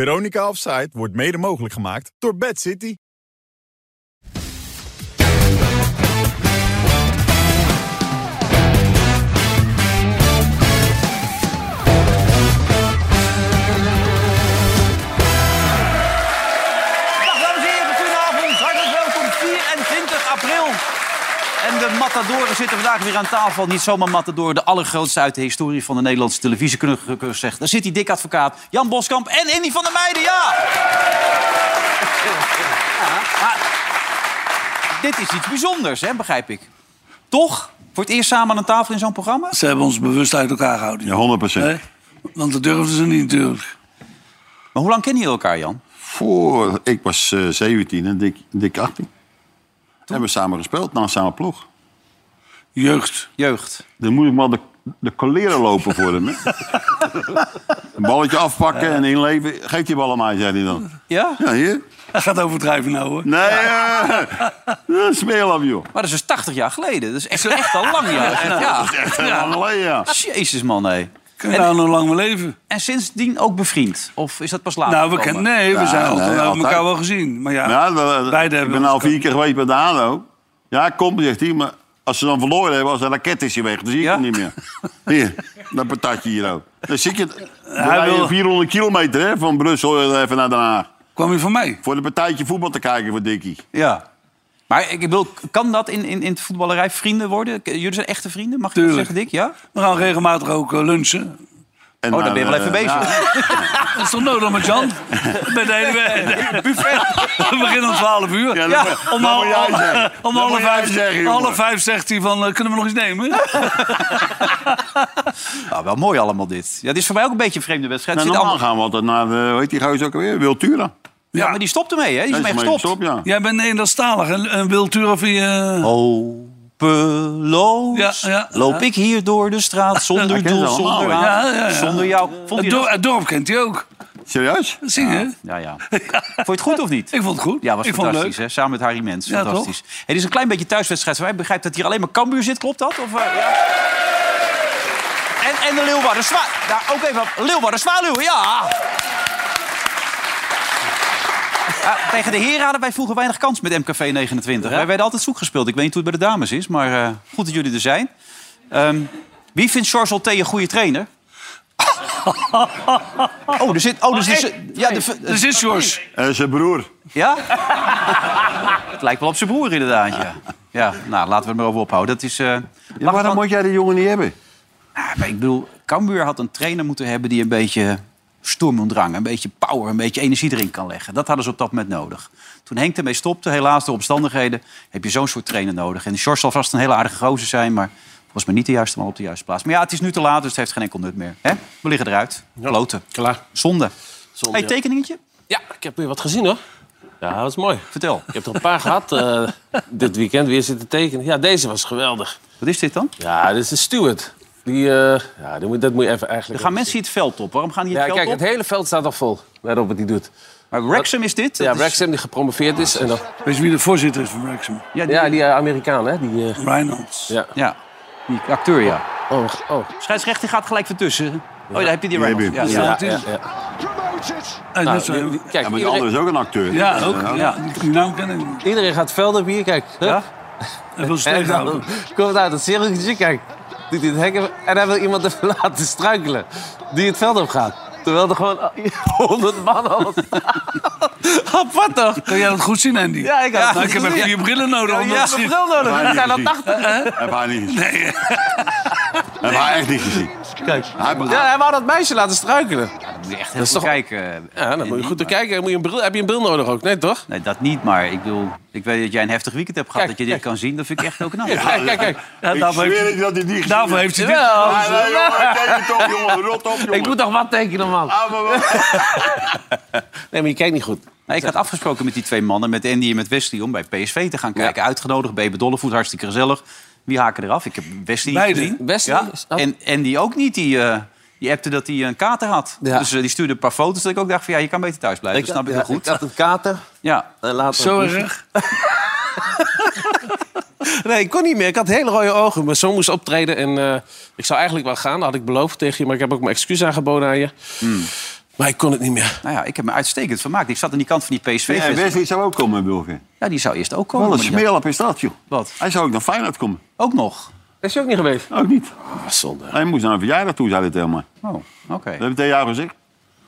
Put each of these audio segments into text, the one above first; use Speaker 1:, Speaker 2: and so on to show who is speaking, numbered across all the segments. Speaker 1: Veronica Offside wordt mede mogelijk gemaakt door Bad City.
Speaker 2: Dag dames en heren, goedenavond. Hartelijk welkom, 24 april. En de Matadoren zitten vandaag weer aan tafel. Niet zomaar Matador, de allergrootste uit de historie van de Nederlandse televisie, kunnen we gerust zeggen. Daar zit die dik advocaat Jan Boskamp en Andy van der Meijden, ja! ja maar dit is iets bijzonders, hè, begrijp ik. Toch? Voor het eerst samen aan een tafel in zo'n programma?
Speaker 3: Ze hebben ons bewust uit elkaar gehouden.
Speaker 4: Ja, 100%.
Speaker 3: Hè? Want dat durfden ze niet natuurlijk.
Speaker 2: Maar hoe lang kennen jullie elkaar, Jan?
Speaker 4: Voor, ik was eh, 17 en Dick, Dick 18. Hebben we samen gespeeld, na samen ploeg.
Speaker 3: Jeugd.
Speaker 2: Jeugd.
Speaker 4: Dan moet ik maar de, de colleren lopen voor hem. hè. een balletje afpakken en inleven. Geef die bal aan mij, zei hij dan.
Speaker 2: Ja?
Speaker 4: Ja, hier.
Speaker 3: Dat gaat overdrijven nou hoor.
Speaker 4: Nee, eh, dat is meer af, joh.
Speaker 2: Maar dat is dus 80 jaar geleden. Dat is echt, echt al lang, ja.
Speaker 4: Dat is
Speaker 2: ja.
Speaker 4: echt helemaal geleden, ja.
Speaker 2: Jezus, man, hé.
Speaker 3: Kun je nou nog lang maar leven?
Speaker 2: En sindsdien ook bevriend? Of is dat pas later?
Speaker 3: Nou, we
Speaker 2: gekomen?
Speaker 3: kennen, nee, we
Speaker 4: Ah, Ja,
Speaker 3: zijn altijd,
Speaker 4: nee,
Speaker 3: we hebben
Speaker 4: altijd.
Speaker 3: elkaar wel gezien. Maar ja,
Speaker 4: ja dat-
Speaker 3: beide
Speaker 4: ik
Speaker 3: hebben
Speaker 4: ben al
Speaker 3: ons-
Speaker 4: vier keer geweest bij de ADO. Ja, kom, zegt hij, maar als ze dan verloren hebben, als de raket is hij weg, dan zie ik
Speaker 2: Ja.
Speaker 4: hem niet meer. Hier, dat patatje hier ook. Dan zit je, dan
Speaker 3: Hij
Speaker 4: rij je
Speaker 3: wil-
Speaker 4: 400 kilometer hè, van Brussel eh, even naar Den Haag.
Speaker 3: kwam je van mij.
Speaker 4: Voor een partijtje voetbal te kijken voor Dickie.
Speaker 2: Ja. Maar ik bedoel, kan dat in, in, in de voetballerij vrienden worden? K- Jullie zijn echte vrienden, mag je dat
Speaker 3: Tuurlijk.
Speaker 2: zeggen, Dick? Ja?
Speaker 3: We gaan regelmatig ook eh, lunchen.
Speaker 4: En
Speaker 2: Oh, daar
Speaker 4: dan,
Speaker 2: ben je wel
Speaker 4: eh,
Speaker 2: even bezig.
Speaker 3: Dat is toch nodig met Jan? Bij de hele de-
Speaker 2: Buffet.
Speaker 3: We beginnen om 12 uur.
Speaker 4: Ja,
Speaker 2: Ja,
Speaker 4: ja, dat,
Speaker 3: om
Speaker 4: dat
Speaker 3: half-
Speaker 4: moet jij zeggen.
Speaker 3: om
Speaker 4: Dat
Speaker 3: half
Speaker 4: moet jij
Speaker 3: vijf,
Speaker 4: zeggen, jongen.
Speaker 3: half vijf zegt hij van, eh, kunnen we nog iets nemen?
Speaker 2: Nou, wel mooi allemaal dit. Ja, dit is voor mij ook een beetje een vreemde wedstrijd.
Speaker 4: Nou,
Speaker 2: Zit
Speaker 4: normaal
Speaker 2: allemaal-
Speaker 4: gaan we altijd naar, de, hoe heet die gozer ook alweer? Wiltura.
Speaker 2: Ja, maar die stopt ermee, hè? Die is ermee gestopt.
Speaker 4: Stop, ja.
Speaker 3: Jij bent Nederlandstalig en, en Wiltura via...
Speaker 4: Oh,
Speaker 2: Hopeloos
Speaker 3: Ja, ja,
Speaker 2: loop
Speaker 3: ja.
Speaker 2: ik hier door de straat zonder
Speaker 4: Hij kent
Speaker 2: doel,
Speaker 4: ze allemaal,
Speaker 2: zonder
Speaker 4: ja.
Speaker 2: aan,
Speaker 3: Ja, ja, ja.
Speaker 2: zonder jou. Vond je dat-
Speaker 3: het, dorp, het dorp kent hij ook.
Speaker 4: Serieus?
Speaker 3: Zingen?
Speaker 2: Ja, ja. Vond je het goed of niet?
Speaker 3: Ik vond het goed.
Speaker 2: Ja, was
Speaker 3: ik vond het leuk.
Speaker 2: fantastisch, hè? Samen met Harry Mens.
Speaker 3: Ja,
Speaker 2: fantastisch. Hey, dit is een klein beetje thuiswedstrijd. Wij begrijpen dat hier alleen maar Cambuur zit, klopt dat? Of, eh, ja. en, en de Leeuwarden Zwa... Daar ook even op. Leeuwarden Zwaluwen, ja! Ja, tegen de heren hadden wij vroeger weinig kans met MKV 29. Wij werden altijd zoek gespeeld. Ik weet niet hoe het bij de dames is, maar eh, goed dat jullie er zijn. Ehm, wie vindt Charles Olté een goede trainer? Oh, er zit... Oh, er zit ja, de,
Speaker 3: Dus dit is George.
Speaker 4: Eh zijn broer.
Speaker 2: ja? het lijkt wel op zijn broer, inderdaad. Ja, ja nou, laten we het maar over ophouden. Dat is. eh, lag
Speaker 4: waarom
Speaker 2: dan-
Speaker 4: moet jij die jongen niet hebben?
Speaker 2: Ah, maar ik bedoel, Cambuur had een trainer moeten hebben die een beetje storm en drang, een beetje power, een beetje energie erin kan leggen. Dat hadden ze op dat moment nodig. Toen Henk ermee stopte, helaas door omstandigheden, heb je zo'n soort trainer nodig. En Sjors zal vast een hele aardige gozer zijn, maar volgens mij niet de juiste man op de juiste plaats. Maar ja, het is nu te laat, dus het heeft geen enkel nut meer. Hè? We liggen eruit. Kloten.
Speaker 5: Klaar.
Speaker 2: Zonde.
Speaker 5: Zonde,
Speaker 2: hey,
Speaker 5: ja.
Speaker 2: tekeningetje?
Speaker 5: Ja, ik heb weer wat gezien hoor. Ja, dat is mooi.
Speaker 2: Vertel.
Speaker 5: Ik heb er een paar gehad eh, dit weekend weer zitten tekenen. Ja, deze was geweldig.
Speaker 2: Wat is dit dan?
Speaker 5: Ja, dit is de Stewart. Die, eh, ja, die moet, dat moet je even
Speaker 2: Er
Speaker 5: eigenlijk...
Speaker 2: gaan mensen hier het veld op. Waarom gaan die het
Speaker 5: Ja,
Speaker 2: veld
Speaker 5: kijk,
Speaker 2: op?
Speaker 5: het hele veld staat al vol. Let op wat die doet.
Speaker 2: Maar Wrexham is dit?
Speaker 5: Ja,
Speaker 2: Dat is-
Speaker 5: Wrexham die gepromoveerd is. En dan,
Speaker 3: Weet je wie de voorzitter is van Wrexham?
Speaker 2: Ja, die,
Speaker 5: ja, die eh, Amerikaan, hè? Die, eh,
Speaker 3: Reynolds.
Speaker 5: ja.
Speaker 2: ja, die acteur, ja.
Speaker 5: Oh, oh.
Speaker 2: Scheidsrechter die gaat gelijk ertussen. Oh, daar heb je die
Speaker 4: Die
Speaker 2: Reynolds.
Speaker 4: heb
Speaker 2: Ja,
Speaker 4: je.
Speaker 2: ja.
Speaker 3: Ja,
Speaker 5: ja,
Speaker 3: het is-
Speaker 5: ja.
Speaker 3: hij is net zo-
Speaker 5: Nou, die- kijk,
Speaker 4: Ja, maar die
Speaker 5: iedereen,
Speaker 4: andere is ook een acteur.
Speaker 3: Ja, ook. Ja, die naam ken ik niet.
Speaker 5: iedereen gaat het veld op hier, kijk. Hup.
Speaker 2: Ja?
Speaker 3: Hij wil
Speaker 5: En
Speaker 3: steekhouden.
Speaker 5: dan komt uit het cirkeltje, kijk. Doet hij het hek even- en hij wil iemand even laten struikelen. Die het veld op gaat. Terwijl er gewoon 100 man al staan. Apart toch?
Speaker 3: Kan jij dat goed zien, Andy?
Speaker 5: Ja, ik had het
Speaker 3: Nou,
Speaker 5: goed
Speaker 3: ik heb even
Speaker 5: gezien.
Speaker 3: vier brillen nodig
Speaker 5: Ja,
Speaker 3: om dat
Speaker 5: een
Speaker 3: te zien.
Speaker 5: bril nodig.
Speaker 4: Heb
Speaker 5: Er
Speaker 4: hij
Speaker 5: zijn al
Speaker 4: niet
Speaker 5: 80.
Speaker 4: gezien. Heb hij niet gezien.
Speaker 3: Nee,
Speaker 4: Heb hij echt niet gezien.
Speaker 5: Kijk.
Speaker 4: Hij,
Speaker 5: Ja, hij wou dat meisje laten struikelen.
Speaker 2: Moet je echt heel eh.
Speaker 5: is
Speaker 2: goed
Speaker 5: toch-
Speaker 2: kijken.
Speaker 5: Ja, dan moet je goed naar kijken. Dan Moet je een bril, heb je een bril nodig ook? Nee, toch?
Speaker 2: Nee, dat niet, maar ik bedoel... Ik weet dat jij een heftig weekend hebt gehad.
Speaker 5: Kijk,
Speaker 2: dat je dit
Speaker 5: kijk.
Speaker 2: kan zien, dat vind ik echt ook knap.
Speaker 5: Kijk, kijk, kijk.
Speaker 3: ja,
Speaker 4: ik
Speaker 3: daarvoor,
Speaker 4: zweer het
Speaker 3: heeft,
Speaker 4: je dat hij niet gezien
Speaker 3: daarvoor
Speaker 4: heeft.
Speaker 3: heeft hij dit.
Speaker 5: Jawel.
Speaker 4: Ah, nee, jongen, teken toch, jongen. Rot op, jongen.
Speaker 5: Ik moet nog wat tekenen, man.
Speaker 4: Ah, maar wat-
Speaker 5: Nee, maar je kijkt niet goed.
Speaker 2: Nee, Nou, ik had afgesproken met die twee mannen, met Andy en met Wesley... om bij PSV te gaan kijken. Uitgenodigd bij Bedollevoet, hartstikke gezellig. Wie haken eraf? Ik heb Wesley niet
Speaker 3: Beide.
Speaker 2: gezien.
Speaker 5: Wesley
Speaker 2: Ja.
Speaker 5: is- oh.
Speaker 2: En Andy ook niet, die... eh, die appte dat hij een kater had.
Speaker 5: Ja.
Speaker 2: Dus eh, die stuurde een paar foto's. Dat ik ook dacht van ja, je kan beter thuis blijven. dat snap ik
Speaker 5: ja,
Speaker 2: heel goed.
Speaker 5: Ik had een kater.
Speaker 2: Ja.
Speaker 5: En later
Speaker 3: Zo erg.
Speaker 5: Nee, ik kon niet meer. Ik had hele rode ogen. Mijn zoon moest optreden en eh, ik zou eigenlijk wel gaan. Dat had ik beloofd tegen je, maar ik heb ook mijn excuus aangeboden aan je.
Speaker 6: Maar ik kon het niet meer.
Speaker 2: Nou ja, ik heb me uitstekend vermaakt. Ik zat aan die kant van die PSV.
Speaker 4: Ja, Wesley zou ook komen, Wilfried.
Speaker 2: Ja, die zou eerst ook komen.
Speaker 4: Wel een
Speaker 2: maar die
Speaker 4: smeerlap is dat, joh.
Speaker 2: Wat?
Speaker 4: Hij zou ook naar Feyenoord komen.
Speaker 2: had- Ook nog.
Speaker 5: Is je ook niet geweest?
Speaker 4: Ook niet.
Speaker 6: Ah, zonde.
Speaker 4: Hij moest naar een verjaardag toe, zei hij tegen mij.
Speaker 2: Oh, oké.
Speaker 4: Dat heb ik tegen jou gezegd.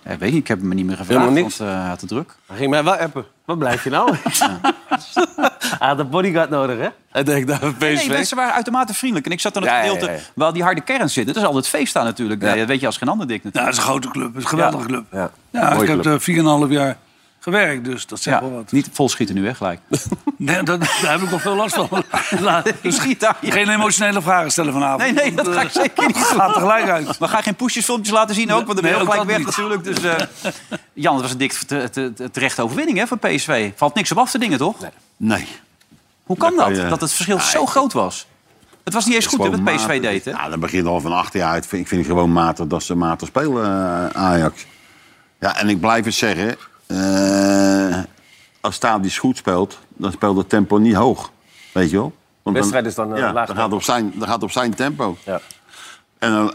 Speaker 2: Ja, ik weet niet, ik heb hem niet meer gevraagd,
Speaker 5: Helemaal
Speaker 2: want
Speaker 5: niks.
Speaker 2: eh, hij had te druk.
Speaker 5: Hij ging mij wel appen. Wat blijf je nou? Hij had een bodyguard nodig, hè?
Speaker 6: Hij denkt dat we
Speaker 2: Nee,
Speaker 6: PSV...
Speaker 2: mensen waren uitermate vriendelijk. En ik zat aan het
Speaker 6: Ja, ja,
Speaker 2: gedeelte
Speaker 6: ja, ja.
Speaker 2: waar die harde kern zit. Dat is altijd feest daar natuurlijk. Nee, dat weet je als geen ander, Dick.
Speaker 3: Ja,
Speaker 2: Natuurlijk.
Speaker 3: het is een grote club. Het is een geweldige club.
Speaker 6: Ja.
Speaker 3: Ja, ik heb er 4,5 jaar gewerkt, dus dat zegt
Speaker 2: Ja,
Speaker 3: wel wat.
Speaker 2: niet volschieten nu, hè, gelijk.
Speaker 3: Nee, dat, daar heb ik nog veel last van. Laat- dus
Speaker 2: Ik schiet daar.
Speaker 3: Geen emotionele vragen stellen vanavond.
Speaker 2: Nee, nee, dat
Speaker 3: want,
Speaker 2: ga ik
Speaker 3: eh,
Speaker 2: zeker niet doen.
Speaker 3: Gaat er gelijk uit.
Speaker 2: We gaan geen poesjesfilmpjes laten zien ook, want dan ben je
Speaker 3: Nee,
Speaker 2: ook
Speaker 3: ook
Speaker 2: gelijk weg
Speaker 3: dat
Speaker 2: natuurlijk. Dus, eh, Jan, het was een dik te- te- te- terechte overwinning hè, voor PSV. Valt niks op af te dingen, toch?
Speaker 4: Nee.
Speaker 2: Hoe kan
Speaker 4: Dat kan
Speaker 2: dat?
Speaker 4: je-
Speaker 2: Dat het verschil zo groot was. Het was niet eens goed hè, wat
Speaker 4: Gewoon
Speaker 2: PSV
Speaker 4: matig.
Speaker 2: deed, hè?
Speaker 4: Ja, dat begint al van acht jaar uit. Vind- Ik vind het gewoon matig dat ze matig spelen, eh, Ajax. Ja, en ik blijf het zeggen. eh, als Stadis goed speelt, dan speelt het tempo niet hoog. Weet je wel? Want
Speaker 5: Wedstrijd is dan, eh,
Speaker 4: ja,
Speaker 5: laag
Speaker 4: Dan
Speaker 5: tempo.
Speaker 4: gaat op zijn, dan gaat op zijn tempo.
Speaker 5: Ja.
Speaker 4: En dan-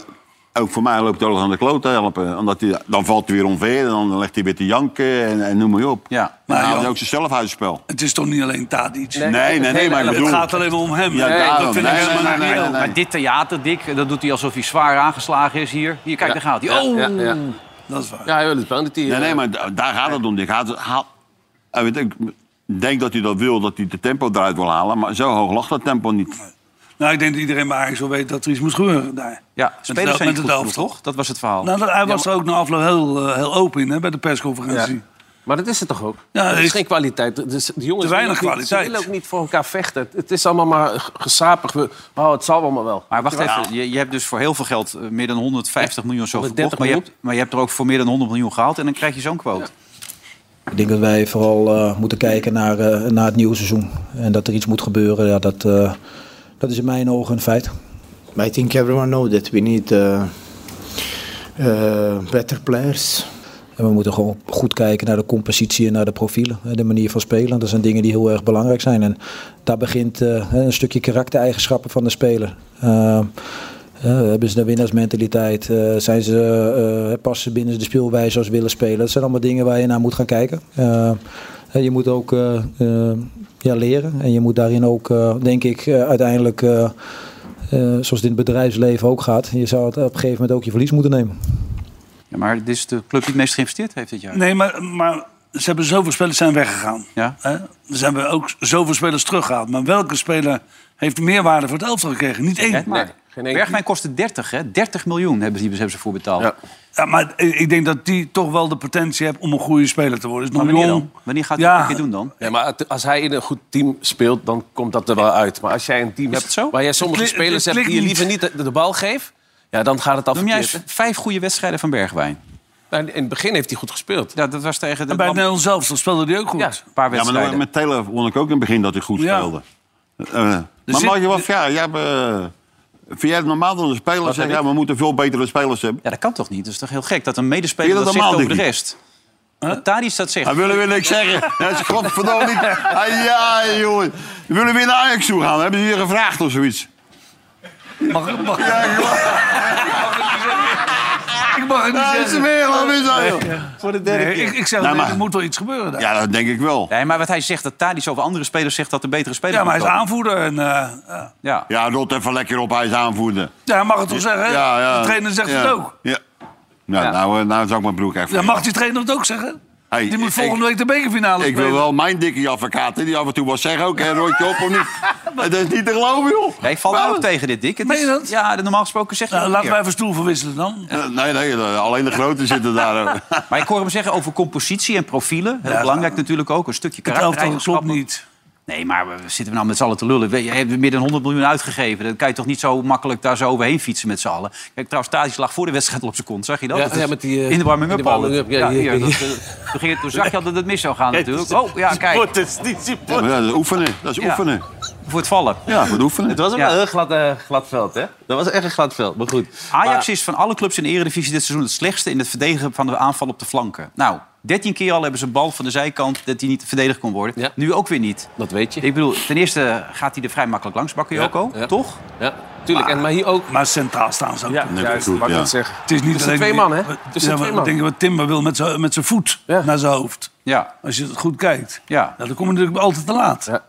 Speaker 4: ook voor mij loopt alles aan de kloot te helpen. Omdat hij, dan valt hij weer onver en dan legt hij weer te janken en, en noem maar op.
Speaker 2: Ja,
Speaker 4: maar
Speaker 3: maar
Speaker 4: dan houdt
Speaker 3: Jan-
Speaker 4: hij ook zichzelf uit het spel.
Speaker 3: Het is toch niet alleen Tadic?
Speaker 5: Nee,
Speaker 4: Nee, nee, nee, maar ik
Speaker 5: Het
Speaker 4: bedoel...
Speaker 3: Het gaat alleen maar om hem.
Speaker 4: Ja,
Speaker 3: hè?
Speaker 4: daarom.
Speaker 3: dat vind ik
Speaker 4: Nee,
Speaker 3: helemaal
Speaker 4: nee,
Speaker 3: niet
Speaker 4: nee, nee,
Speaker 3: reëel.
Speaker 4: nee.
Speaker 2: Maar dit theater, Dick, dat doet hij alsof hij zwaar aangeslagen is hier. Hier, kijk, daar gaat hij. Oh!
Speaker 5: Ja, ja.
Speaker 3: Dat is waar.
Speaker 5: ja hij wil het penalty.
Speaker 4: Nee,
Speaker 5: eh,
Speaker 4: nee, maar da- daar gaat het om. Die gaat, haal, hij weet, ik denk dat hij dat wil, dat hij de tempo eruit wil halen. Maar zo hoog lag dat tempo niet.
Speaker 3: Nou, ik denk dat iedereen bij Ajax wel weet dat er iets moet gebeuren daar.
Speaker 2: Ja,
Speaker 3: Met
Speaker 2: spelers
Speaker 3: het-
Speaker 2: zijn niet
Speaker 3: met
Speaker 2: goed
Speaker 3: het
Speaker 2: genoeg,
Speaker 3: elftal.
Speaker 2: toch? Dat was het verhaal.
Speaker 3: Nou, dat- hij was
Speaker 2: Ja,
Speaker 3: er ook na afloop heel, eh, heel open in hè, bij de persconferentie.
Speaker 5: Maar dat is het toch ook?
Speaker 3: Ja,
Speaker 5: het is
Speaker 3: ik-
Speaker 5: geen kwaliteit. Het is- de jongens
Speaker 3: Te weinig
Speaker 5: willen ook niet-
Speaker 3: kwaliteit.
Speaker 5: Ze willen ook niet voor elkaar vechten. Het is allemaal maar g- gesapig. We- Oh, het zal allemaal wel.
Speaker 2: Maar wacht even, je, je hebt dus voor heel veel geld eh, meer dan 150 miljoen zo verkocht.
Speaker 5: 130
Speaker 2: Maar je, hebt,
Speaker 5: miljoen.
Speaker 2: maar je hebt er ook voor meer dan 100 miljoen gehaald en dan krijg je zo'n quote.
Speaker 7: Ik denk dat wij vooral eh, moeten kijken naar, eh, naar het nieuwe seizoen. En dat er iets moet gebeuren, ja, dat, eh, dat is in mijn ogen een feit.
Speaker 8: I think everyone knows that we need uh, uh, better players.
Speaker 7: En we moeten gewoon goed kijken naar de compositie en naar de profielen. En de manier van spelen, dat zijn dingen die heel erg belangrijk zijn. En daar begint eh, een stukje karaktereigenschappen van de speler. Eh, eh, hebben ze de winnaarsmentaliteit? eh, zijn ze, eh, passen ze binnen de speelwijze zoals ze willen spelen? Dat zijn allemaal dingen waar je naar moet gaan kijken. Eh, en je moet ook eh, eh, ja, leren. En je moet daarin ook, eh, denk ik, eh, uiteindelijk... eh, eh, zoals het in het bedrijfsleven ook gaat. Je zou het op een gegeven moment ook je verlies moeten nemen.
Speaker 2: Ja, maar dit is de club die het meest geïnvesteerd heeft dit jaar.
Speaker 3: Nee, maar, maar ze hebben zoveel spelers zijn weggegaan.
Speaker 2: Ja.
Speaker 3: Hè? Dus hebben we ook zoveel spelers teruggehaald. Maar welke speler heeft meerwaarde voor het elftal gekregen? Niet één.
Speaker 2: Kijk maar.
Speaker 5: Nee, geen enkel-
Speaker 2: Bergwijn kostte 30, hè? 30 miljoen hebben ze, hebben ze voor betaald.
Speaker 5: Ja.
Speaker 3: Ja, maar ik ik denk dat die toch wel de potentie heeft om een goede speler te worden. Is
Speaker 2: Maar
Speaker 3: nog
Speaker 2: wanneer
Speaker 3: jong.
Speaker 2: dan? Wanneer gaat hij
Speaker 3: Ja.
Speaker 2: dat een keer doen dan?
Speaker 5: Ja, maar het- als hij in een goed team speelt, dan komt dat er wel uit. Maar als jij een team
Speaker 2: het
Speaker 5: hebt
Speaker 2: zo?
Speaker 5: waar jij sommige
Speaker 3: Het kli-
Speaker 5: spelers
Speaker 3: het
Speaker 5: hebt die je
Speaker 3: klikt
Speaker 5: liever niet de, de bal geeft... Ja, dan gaat het af
Speaker 2: Noem jij eens
Speaker 5: verkeerd,
Speaker 2: vijf goede wedstrijden van Bergwijn.
Speaker 5: hè? Nou, In het begin heeft hij goed gespeeld.
Speaker 2: Ja, dat was tegen de
Speaker 3: En bij
Speaker 2: Lam-
Speaker 3: Nederland zelf speelde die ook goed.
Speaker 5: Ja.
Speaker 2: een paar
Speaker 4: Ja, maar
Speaker 2: wedstrijden.
Speaker 4: dan- met Taylor won ik ook in het begin dat hij goed
Speaker 3: Ja.
Speaker 4: speelde. Eh, maar
Speaker 3: zit-
Speaker 4: mag je wat? Ja, jij hebt, eh, vind jij het normaal dat een speler zegt...
Speaker 2: heb
Speaker 4: Ja, we moeten veel betere spelers hebben?
Speaker 2: Ja, dat kan toch niet? Dat is toch heel gek dat een medespeler
Speaker 4: Vind
Speaker 2: dat,
Speaker 4: je dat
Speaker 2: zegt over
Speaker 4: normaal,
Speaker 2: de
Speaker 4: Dickie?
Speaker 2: rest. Dat Tadic dat zegt.
Speaker 4: Hij willen weer niks zeggen. Hij is godverdomme niet. Ah, ja, jongen. We willen weer naar Ajax toe gaan. Hebben ze hier gevraagd of zoiets?
Speaker 3: Mag, mag, ik mag het niet
Speaker 4: Ja, is
Speaker 3: zeggen.
Speaker 4: er weer. Wat is dat, joh?
Speaker 3: Nee, ik, ik zeg,
Speaker 4: Nou,
Speaker 3: alleen,
Speaker 4: maar-
Speaker 3: er moet wel iets gebeuren daar. Ja,
Speaker 4: Ja, dat denk ik wel.
Speaker 2: Nee, maar wat hij zegt, dat Tadic over andere spelers zegt dat de betere speler
Speaker 3: maar hij is
Speaker 2: moet komen.
Speaker 3: aanvoerder. En, eh, ja.
Speaker 2: Ja.
Speaker 4: Ja, rot even lekker op. Hij is aanvoerder.
Speaker 3: ja, hij mag het toch zeggen? hè?
Speaker 4: Ja, ja.
Speaker 3: De trainer zegt
Speaker 4: Ja.
Speaker 3: het ook.
Speaker 4: Ja. Nou, nou, eh, nou zou ik mijn broek even...
Speaker 3: Ja, mag die trainer het ook zeggen?
Speaker 4: Hey,
Speaker 3: die moet
Speaker 4: ik-
Speaker 3: volgende week de bekerfinale
Speaker 4: Ik wil
Speaker 3: spelen.
Speaker 4: wel mijn dikke advocaat, hè, die af en toe wat zeggen ook. En rotje op of niet. Het is niet te geloven, joh.
Speaker 2: Nee, ik val daar ook tegen dit, Dick. Het
Speaker 3: Meen je
Speaker 2: is-
Speaker 3: dat?
Speaker 2: Ja, normaal gesproken zeg je
Speaker 3: Nou,
Speaker 2: dat
Speaker 3: laten
Speaker 2: een
Speaker 3: wij
Speaker 2: keer.
Speaker 3: even stoel verwisselen dan.
Speaker 4: Eh, Nee, nee, alleen de grote zitten daar. eh.
Speaker 2: Maar ik hoor hem zeggen over compositie en profielen. Heel
Speaker 3: Ja,
Speaker 2: belangrijk natuurlijk ook. Een stukje
Speaker 3: Het elftal
Speaker 2: karakter.
Speaker 3: klopt niet.
Speaker 2: Nee, maar we zitten we nou met z'n allen te lullen. We- Je hebt meer dan 100 miljoen uitgegeven. Dan kan je toch niet zo makkelijk daar zo overheen fietsen met z'n allen. Kijk, trouwens, Tadic lag voor de wedstrijd al op zijn kont. Zag je dat?
Speaker 5: Ja,
Speaker 2: Dat is
Speaker 5: ja, met die, eh,
Speaker 2: in de warming-up
Speaker 5: die warming-up,
Speaker 2: al.
Speaker 5: ja,
Speaker 2: Ja,
Speaker 5: hier,
Speaker 2: hier,
Speaker 5: hier.
Speaker 2: dat, eh, toen, ging het- toen zag je al dat het mis zou gaan natuurlijk. Oh, ja, kijk.
Speaker 4: Ja, maar dat is oefenen. Dat is
Speaker 2: Ja.
Speaker 4: oefenen.
Speaker 2: Voor het vallen.
Speaker 4: Ja, dat oefenen.
Speaker 5: Het was ook
Speaker 2: Ja.
Speaker 5: wel een heel glad, eh, glad veld, hè? Dat was echt een glad veld, maar goed.
Speaker 2: Ajax is van alle clubs in de Eredivisie dit seizoen het slechtste in het verdedigen van de aanval op de flanken. Nou, 13 keer al hebben ze een bal van de zijkant dat die niet verdedigd kon worden.
Speaker 5: Ja.
Speaker 2: Nu ook weer niet.
Speaker 5: Dat weet je.
Speaker 2: Ik bedoel, ten eerste gaat hij er vrij makkelijk langs, Bakayoko,
Speaker 5: Ja, ja.
Speaker 2: toch?
Speaker 5: Ja. tuurlijk. En, maar hier ook.
Speaker 3: Maar centraal staan ze ook.
Speaker 5: Ja,
Speaker 4: Net
Speaker 5: juist.
Speaker 4: goed,
Speaker 5: Wat ik
Speaker 4: ja.
Speaker 5: het zeggen.
Speaker 3: Het is niet
Speaker 5: Het zijn
Speaker 3: alleen-
Speaker 5: twee man, hè?
Speaker 3: Wat-
Speaker 5: Het zijn
Speaker 3: ja,
Speaker 5: twee
Speaker 3: wat
Speaker 5: man.
Speaker 3: denk je wat Timber wil met zijn- met zijn voet
Speaker 5: Ja.
Speaker 3: naar zijn hoofd?
Speaker 2: Ja,
Speaker 3: Als je het goed kijkt.
Speaker 2: ja.
Speaker 3: Nou, dan kom je natuurlijk altijd te laat.
Speaker 5: Ja.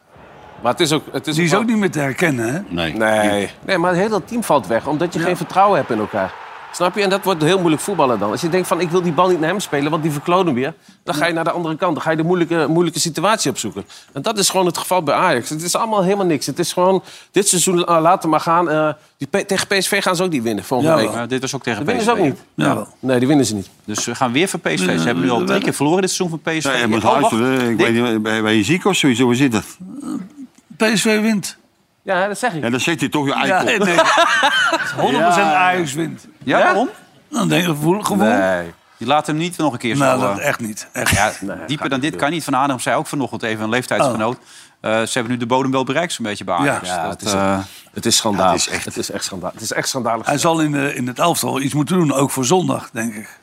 Speaker 5: Maar het is ook... Het is
Speaker 3: Die is
Speaker 5: wel-
Speaker 3: ook niet meer te herkennen, hè?
Speaker 4: Nee.
Speaker 5: Nee. nee, maar het hele team valt weg. Omdat je geen vertrouwen hebt in elkaar. Snap je? En dat wordt heel moeilijk voetballen dan. Als je denkt van, ik wil die bal niet naar hem spelen, want die verkloot hem weer. Dan ga je naar de andere kant. Dan ga je de moeilijke, moeilijke situatie opzoeken. En dat is gewoon het geval bij Ajax. Het is allemaal helemaal niks. Het is gewoon, dit seizoen eh, laten maar gaan. Eh, die P- tegen PSV gaan ze ook niet winnen volgende
Speaker 3: Ja,
Speaker 5: week.
Speaker 3: wel.
Speaker 2: Maar dit was ook tegen
Speaker 5: Dat
Speaker 2: PSV.
Speaker 5: winnen ze ook niet.
Speaker 3: Jawel.
Speaker 5: Nee, die winnen ze niet.
Speaker 2: Dus we gaan weer van PSV. Ze hebben nu al drie keer verloren dit seizoen van PSV.
Speaker 4: Nee, je moet
Speaker 2: Oh, wacht.
Speaker 4: luisteren. Ik
Speaker 2: Dit-
Speaker 4: weet niet, eh, ben ben je ziek of zoiets? Hoe zit het?
Speaker 3: PSV wint.
Speaker 5: Ja, dat zeg ik.
Speaker 4: Ja, dan zit hij toch je
Speaker 3: Ja,
Speaker 4: eikel.
Speaker 3: nee. Het is 100% Ajax wint.
Speaker 2: Ja, waarom?
Speaker 3: Dan denk ik, gevoel. gevoel.
Speaker 2: Nee. Je laat hem niet nog een keer zo...
Speaker 3: nou,
Speaker 2: eh,
Speaker 3: dat echt niet. Echt.
Speaker 2: Ja, dieper dan dit kan niet. Van Aanem zei ook vanochtend even een leeftijdsgenoot. eh, ze hebben nu de bodem wel bereikt zo'n beetje bij Ajax.
Speaker 3: Oh. Ja,
Speaker 2: dat,
Speaker 5: het is-
Speaker 2: eh,
Speaker 5: Het is schandalig. het, is echt... schandalig. Het is echt schandalig.
Speaker 3: Hij zal in, de, in het elftal iets moeten doen, ook voor zondag, denk ik.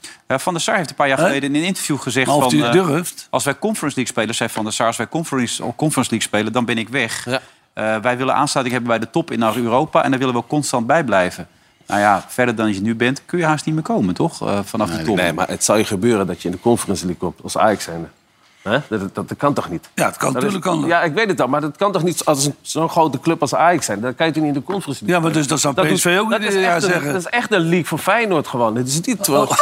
Speaker 2: ja, Eh, van der Sar heeft een paar jaar
Speaker 3: Hè?
Speaker 2: geleden in een interview gezegd...
Speaker 3: Maar of
Speaker 2: Van,
Speaker 3: hij
Speaker 2: eh,
Speaker 3: het durft.
Speaker 2: als wij Conference League spelen, zei Van der Sar... als wij Conference, Conference League spelen, dan ben ik weg.
Speaker 5: Ja.
Speaker 2: Eh, wij willen aansluiting hebben bij de top in naar Europa... en daar willen we ook constant bij blijven. Nou ja, verder dan je nu bent, kun je haast niet meer komen, toch? Eh, vanaf de top.
Speaker 5: Nee, maar het zal je gebeuren dat je in de Conference League komt als Ajax zijnde. Hè? Dat, dat, dat kan toch niet?
Speaker 3: Ja, het kan
Speaker 5: Dat is-
Speaker 3: natuurlijk. Kan dat. Ja,
Speaker 5: Ja, ik weet het al, maar dat kan toch niet als een- zo'n grote club als Ajax zijn? Dan kan je toch niet in de conference League?
Speaker 3: maar dus dat zou PSV
Speaker 5: doet-
Speaker 3: ook
Speaker 5: dat
Speaker 3: niet
Speaker 5: is
Speaker 3: ja,
Speaker 5: echt een-
Speaker 3: zeggen. Oh.
Speaker 5: Dat is echt een league voor Feyenoord gewoon. Het is niet wel.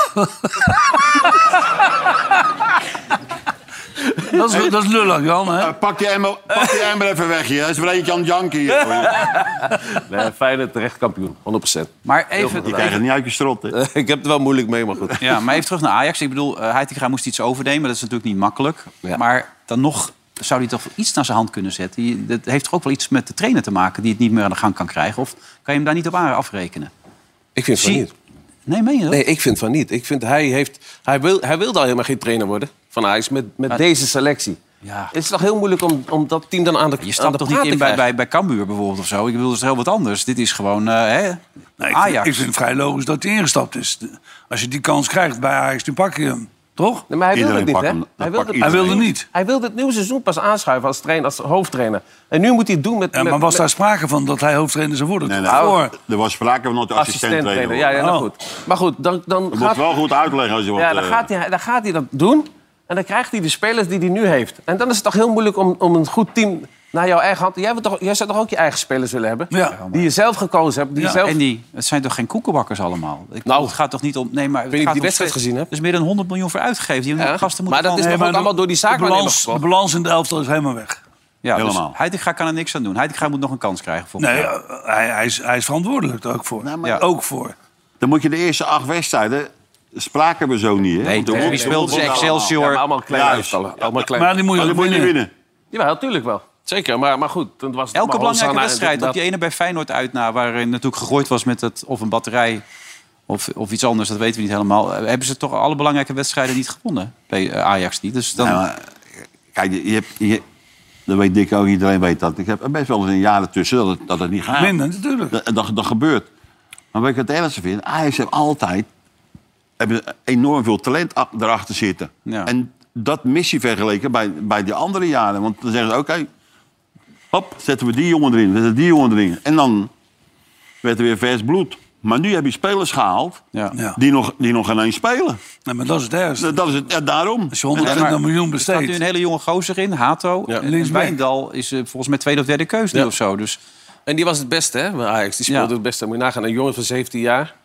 Speaker 3: Dat is, dat is lullig, Jan. Hè?
Speaker 4: Eh, Pak die emmer, pak die emmer even weg hier. Dat is breed Jan Janke hier.
Speaker 5: Nee, Feyenoord terecht kampioen, 100%.
Speaker 2: Maar even,
Speaker 4: Je krijgt het niet uit je strot. hè.
Speaker 5: ik heb het wel moeilijk mee, maar goed.
Speaker 2: Ja, maar even terug naar Ajax. Ik bedoel, eh Heitinga moest iets overnemen. Dat is natuurlijk niet makkelijk.
Speaker 5: Ja.
Speaker 2: Maar dan nog zou hij toch wel iets naar zijn hand kunnen zetten. Die- Dat heeft toch ook wel iets met de trainer te maken... die het niet meer aan de gang kan krijgen? Of kan je hem daar niet op aan- afrekenen?
Speaker 5: Ik vind het
Speaker 2: Zie-
Speaker 5: van niet.
Speaker 2: Nee, meen je dat?
Speaker 5: Nee, ik vind van niet. Ik vind hij, heeft, hij, wil, hij wilde al helemaal geen trainer worden van Ajax met, met deze selectie.
Speaker 2: Ja.
Speaker 5: Het is toch heel moeilijk om, om Oh, dat team dan aan de
Speaker 2: Je
Speaker 5: aan
Speaker 2: stapt
Speaker 5: de
Speaker 2: toch
Speaker 5: praat
Speaker 2: niet
Speaker 5: te
Speaker 2: in bij,
Speaker 5: krijgen?
Speaker 2: bij, bij Cambuur bijvoorbeeld of zo? Ik bedoel, dat is heel wat anders. Dit is gewoon eh, hè?
Speaker 3: Nee, ik, vind,
Speaker 2: Ajax.
Speaker 3: ik vind het vrij logisch dat hij ingestapt is. De- Als je die kans krijgt bij Ajax, dan pak je hem. Toch?
Speaker 5: Nee, maar hij wilde
Speaker 4: Iedereen
Speaker 5: het niet,
Speaker 4: pakt
Speaker 5: hè?
Speaker 4: hem. Dat
Speaker 5: Hij
Speaker 4: pakt
Speaker 5: wilde,
Speaker 3: Hij
Speaker 4: iedereen.
Speaker 3: wilde niet.
Speaker 5: hij wilde het nieuwe seizoen pas aanschuiven als, trainer, als hoofdtrainer. En nu moet hij het doen met...
Speaker 3: Ja,
Speaker 5: met-
Speaker 3: maar was
Speaker 5: met-
Speaker 3: daar sprake van dat hij hoofdtrainer zou worden?
Speaker 4: Nee,
Speaker 3: Nee,
Speaker 4: nee.
Speaker 2: Nou,
Speaker 3: Voor.
Speaker 4: Er was sprake van dat de assistent
Speaker 5: assistent-trainer. Ja, ja, nou goed. Maar goed, dan, dan,
Speaker 4: Je moet
Speaker 5: gaat,
Speaker 4: het wel goed uitleggen als je wat...
Speaker 5: ja, dan,
Speaker 4: eh,
Speaker 5: gaat hij, dan gaat hij dat doen. En dan krijgt hij de spelers die hij nu heeft. En dan is het toch heel moeilijk om, om een goed team naar jouw eigen hand... Jij, wilt toch, jij zou toch ook je eigen spelers willen hebben?
Speaker 3: Ja.
Speaker 5: Die je zelf gekozen hebt. Die je
Speaker 3: Ja,
Speaker 5: zelf...
Speaker 2: En die, het zijn toch geen koekenbakkers allemaal? Ik,
Speaker 5: Nou.
Speaker 2: het gaat toch niet om... Nee, maar het
Speaker 5: weet niet
Speaker 2: gaat
Speaker 5: of je die
Speaker 2: om
Speaker 5: wedstrijd
Speaker 2: twee-
Speaker 5: gezien hebt.
Speaker 2: Er is meer dan 100 miljoen voor uitgegeven. Die
Speaker 5: Ja.
Speaker 2: gasten
Speaker 5: Maar
Speaker 2: moeten
Speaker 5: dat is
Speaker 2: gewoon-
Speaker 5: toch ook allemaal door die
Speaker 3: De
Speaker 5: zaakwaarnemer
Speaker 3: balans, de
Speaker 5: gebracht?
Speaker 3: balans in de elftal is helemaal weg.
Speaker 2: ja, dus
Speaker 4: Helemaal.
Speaker 2: Heitinga kan er niks aan doen. Heitinga moet nog een kans krijgen volgens
Speaker 3: Nee,
Speaker 2: mij.
Speaker 3: eh, hij, hij, is, hij is verantwoordelijk er ook voor.
Speaker 4: Nou, maar-
Speaker 3: Ja. Ook voor.
Speaker 4: Dan moet je de eerste acht wedstrijden... Spraken we zo niet, hè?
Speaker 2: Nee,
Speaker 4: Want dan
Speaker 2: tegen wie
Speaker 4: wordt-
Speaker 2: speelden ze
Speaker 4: wordt allemaal-
Speaker 5: Ja, maar
Speaker 2: Excelsior?
Speaker 5: allemaal kleine
Speaker 4: Juist.
Speaker 5: uitvallen. Allemaal kleine.
Speaker 3: Maar die moet je
Speaker 4: Nou, Maar
Speaker 3: ook
Speaker 4: dan moet je niet
Speaker 3: winnen.
Speaker 4: winnen.
Speaker 5: Jawel, natuurlijk wel. Zeker, maar, maar goed. Dan was het
Speaker 2: Elke
Speaker 5: maar
Speaker 2: belangrijke
Speaker 5: Hosanna en
Speaker 2: wedstrijd,
Speaker 5: dit en
Speaker 2: op die ene bij Feyenoord uit na, waarin natuurlijk gegooid was met het, of een batterij of, of iets anders, dat weten we niet helemaal. eh, Hebben ze toch alle belangrijke wedstrijden niet gewonnen? Bij eh, Ajax niet. Dus dan,
Speaker 4: Ja, maar, kijk, je hebt, je, dat weet Dick ook, iedereen weet dat. Ik heb best wel eens een jaar ertussen dat het, dat het niet
Speaker 2: Ah.
Speaker 4: gaat.
Speaker 3: Minder, natuurlijk.
Speaker 4: Dat, dat, dat gebeurt. Maar wat ik het ergste vind, Ajax heeft altijd hebben enorm veel talent a- erachter zitten.
Speaker 2: Ja.
Speaker 4: En dat missie vergeleken bij, bij die andere jaren. Want dan zeggen ze, oké, hop, zetten we die jongen erin, zetten we die jongen erin. En dan werd er weer vers bloed. Maar nu heb je spelers gehaald
Speaker 2: ja.
Speaker 3: Ja.
Speaker 4: die, nog, die nog geen eens spelen.
Speaker 3: Nee, maar dat is het ergste.
Speaker 4: Dat is het, ja, daarom.
Speaker 3: Als je 120
Speaker 2: maar-
Speaker 3: miljoen
Speaker 2: Er staat nu
Speaker 3: besteedt.
Speaker 2: een hele jonge gozer in, Hato. En, en
Speaker 3: Linksback.
Speaker 2: Wijndal is eh, volgens mij tweede of derde keus nu
Speaker 5: Ja.
Speaker 2: of zo. Dus
Speaker 5: dat. En die was het beste, hè? bij Ajax, die speelde
Speaker 2: Ja.
Speaker 5: het beste. Moet je nagaan, een jongen van 17 jaar...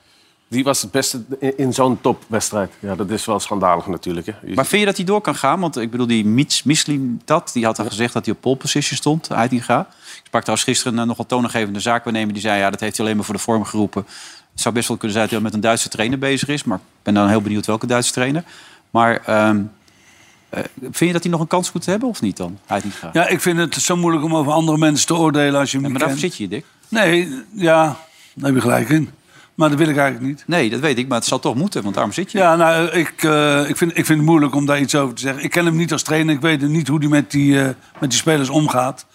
Speaker 5: Die was het beste in, in zo'n topwedstrijd. Ja, dat is wel schandalig natuurlijk. Hè? Je-
Speaker 2: Maar vind je dat hij door kan gaan? Want ik bedoel, die Mits, Mislim dat, die had al gezegd dat hij op pole position stond, Heitinga. Ik sprak trouwens gisteren eh, een nogal toonaangevende zaakwaarnemer. Die zei, ja, dat heeft hij alleen maar voor de vorm geroepen. Het zou best wel kunnen zijn dat hij met een Duitse trainer bezig is. Maar ik ben dan heel benieuwd welke Duitse trainer. Maar ehm, eh, vind je dat hij nog een kans moet hebben of niet dan, Heitinga? Ja,
Speaker 3: Ja, ik vind het zo moeilijk om over andere mensen te oordelen als je hem
Speaker 2: maar
Speaker 3: niet
Speaker 2: daarvoor
Speaker 3: kent.
Speaker 2: zit je hier, Dick.
Speaker 3: Nee, ja, daar heb je gelijk in. Maar dat wil ik eigenlijk niet.
Speaker 2: Nee, dat weet ik, maar het zal toch moeten, want daarom zit je.
Speaker 3: Ja, nou, ik, eh, ik, vind, ik vind het moeilijk om daar iets over te zeggen. Ik ken hem niet als trainer. Ik weet niet hoe hij met die, eh, met die spelers omgaat.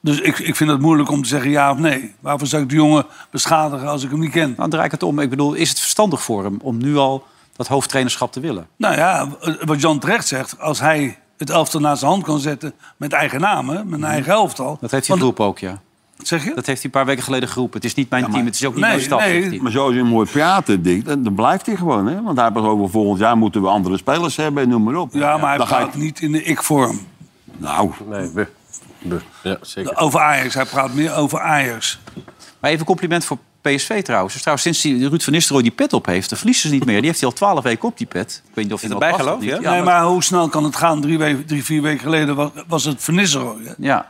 Speaker 3: Dus ik, ik vind het moeilijk om te zeggen ja of nee. Waarvoor zou ik de jongen beschadigen als ik hem niet ken?
Speaker 2: Nou, Dan draai ik het om. Ik bedoel, is het verstandig voor hem om nu al dat hoofdtrainerschap te willen?
Speaker 3: Nou ja, wat Jan terecht zegt. Als hij het elftal naar zijn hand kan zetten met eigen namen, met een eigen elftal.
Speaker 2: Dat heeft hij
Speaker 3: Want-
Speaker 2: geroepen ook, ja.
Speaker 3: Wat zeg je?
Speaker 2: Dat heeft hij een paar weken geleden geroepen. Het is niet mijn team, het is ook niet
Speaker 3: Nee,
Speaker 2: mijn staf.
Speaker 3: nee.
Speaker 2: zegt hij.
Speaker 4: Maar zoals je hem hoort praten, Dick, dan, dan blijft hij gewoon. Hè? Want hij heeft over volgend jaar moeten we andere spelers hebben en noem maar op.
Speaker 3: Ja, maar hij
Speaker 4: dan ga
Speaker 3: praat
Speaker 4: ik,
Speaker 3: niet in de ik-vorm.
Speaker 4: Nou,
Speaker 5: Nee, buh. Buh. Ja, zeker.
Speaker 3: Over Ajax. Hij praat meer over Ajax.
Speaker 2: Maar even compliment voor PSV trouwens. Dus trouwens, sinds die Ruud van Nistelrooy die pet op heeft, dan verliezen ze niet meer. Die heeft hij al twaalf weken op, die pet. Ik weet niet of je
Speaker 6: het
Speaker 2: dat past of
Speaker 6: bijgeloof,
Speaker 2: niet.
Speaker 6: ja?
Speaker 2: Ja,
Speaker 3: nee,
Speaker 2: maar-
Speaker 3: maar hoe snel kan het gaan? Drie, we- drie vier weken geleden was, was het vernisser
Speaker 2: ja.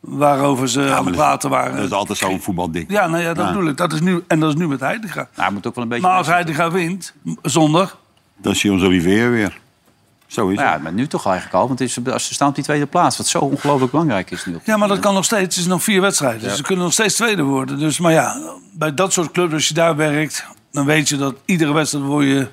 Speaker 3: waarover ze aan het praten waren.
Speaker 4: dat is altijd zo'n voetbaldik.
Speaker 3: Ja, nou ja, dat bedoel ik. Dat is nu, en dat is nu met Heidegger.
Speaker 2: Nou, hij moet ook wel een beetje...
Speaker 3: Maar als Heidegger wint, m- zondag...
Speaker 4: Dan zie je ons Olivier weer. Zo is
Speaker 2: Nou ja,
Speaker 4: het.
Speaker 2: maar nu toch eigenlijk al. Want het is, als ze staan op die tweede plaats, wat zo ongelooflijk belangrijk is nu. op-
Speaker 3: Ja, maar dat kan nog steeds. Het is nog vier wedstrijden. Dus ze kunnen nog steeds tweede worden. Dus, maar ja, bij dat soort clubs, als je daar werkt... dan weet je dat iedere wedstrijd word je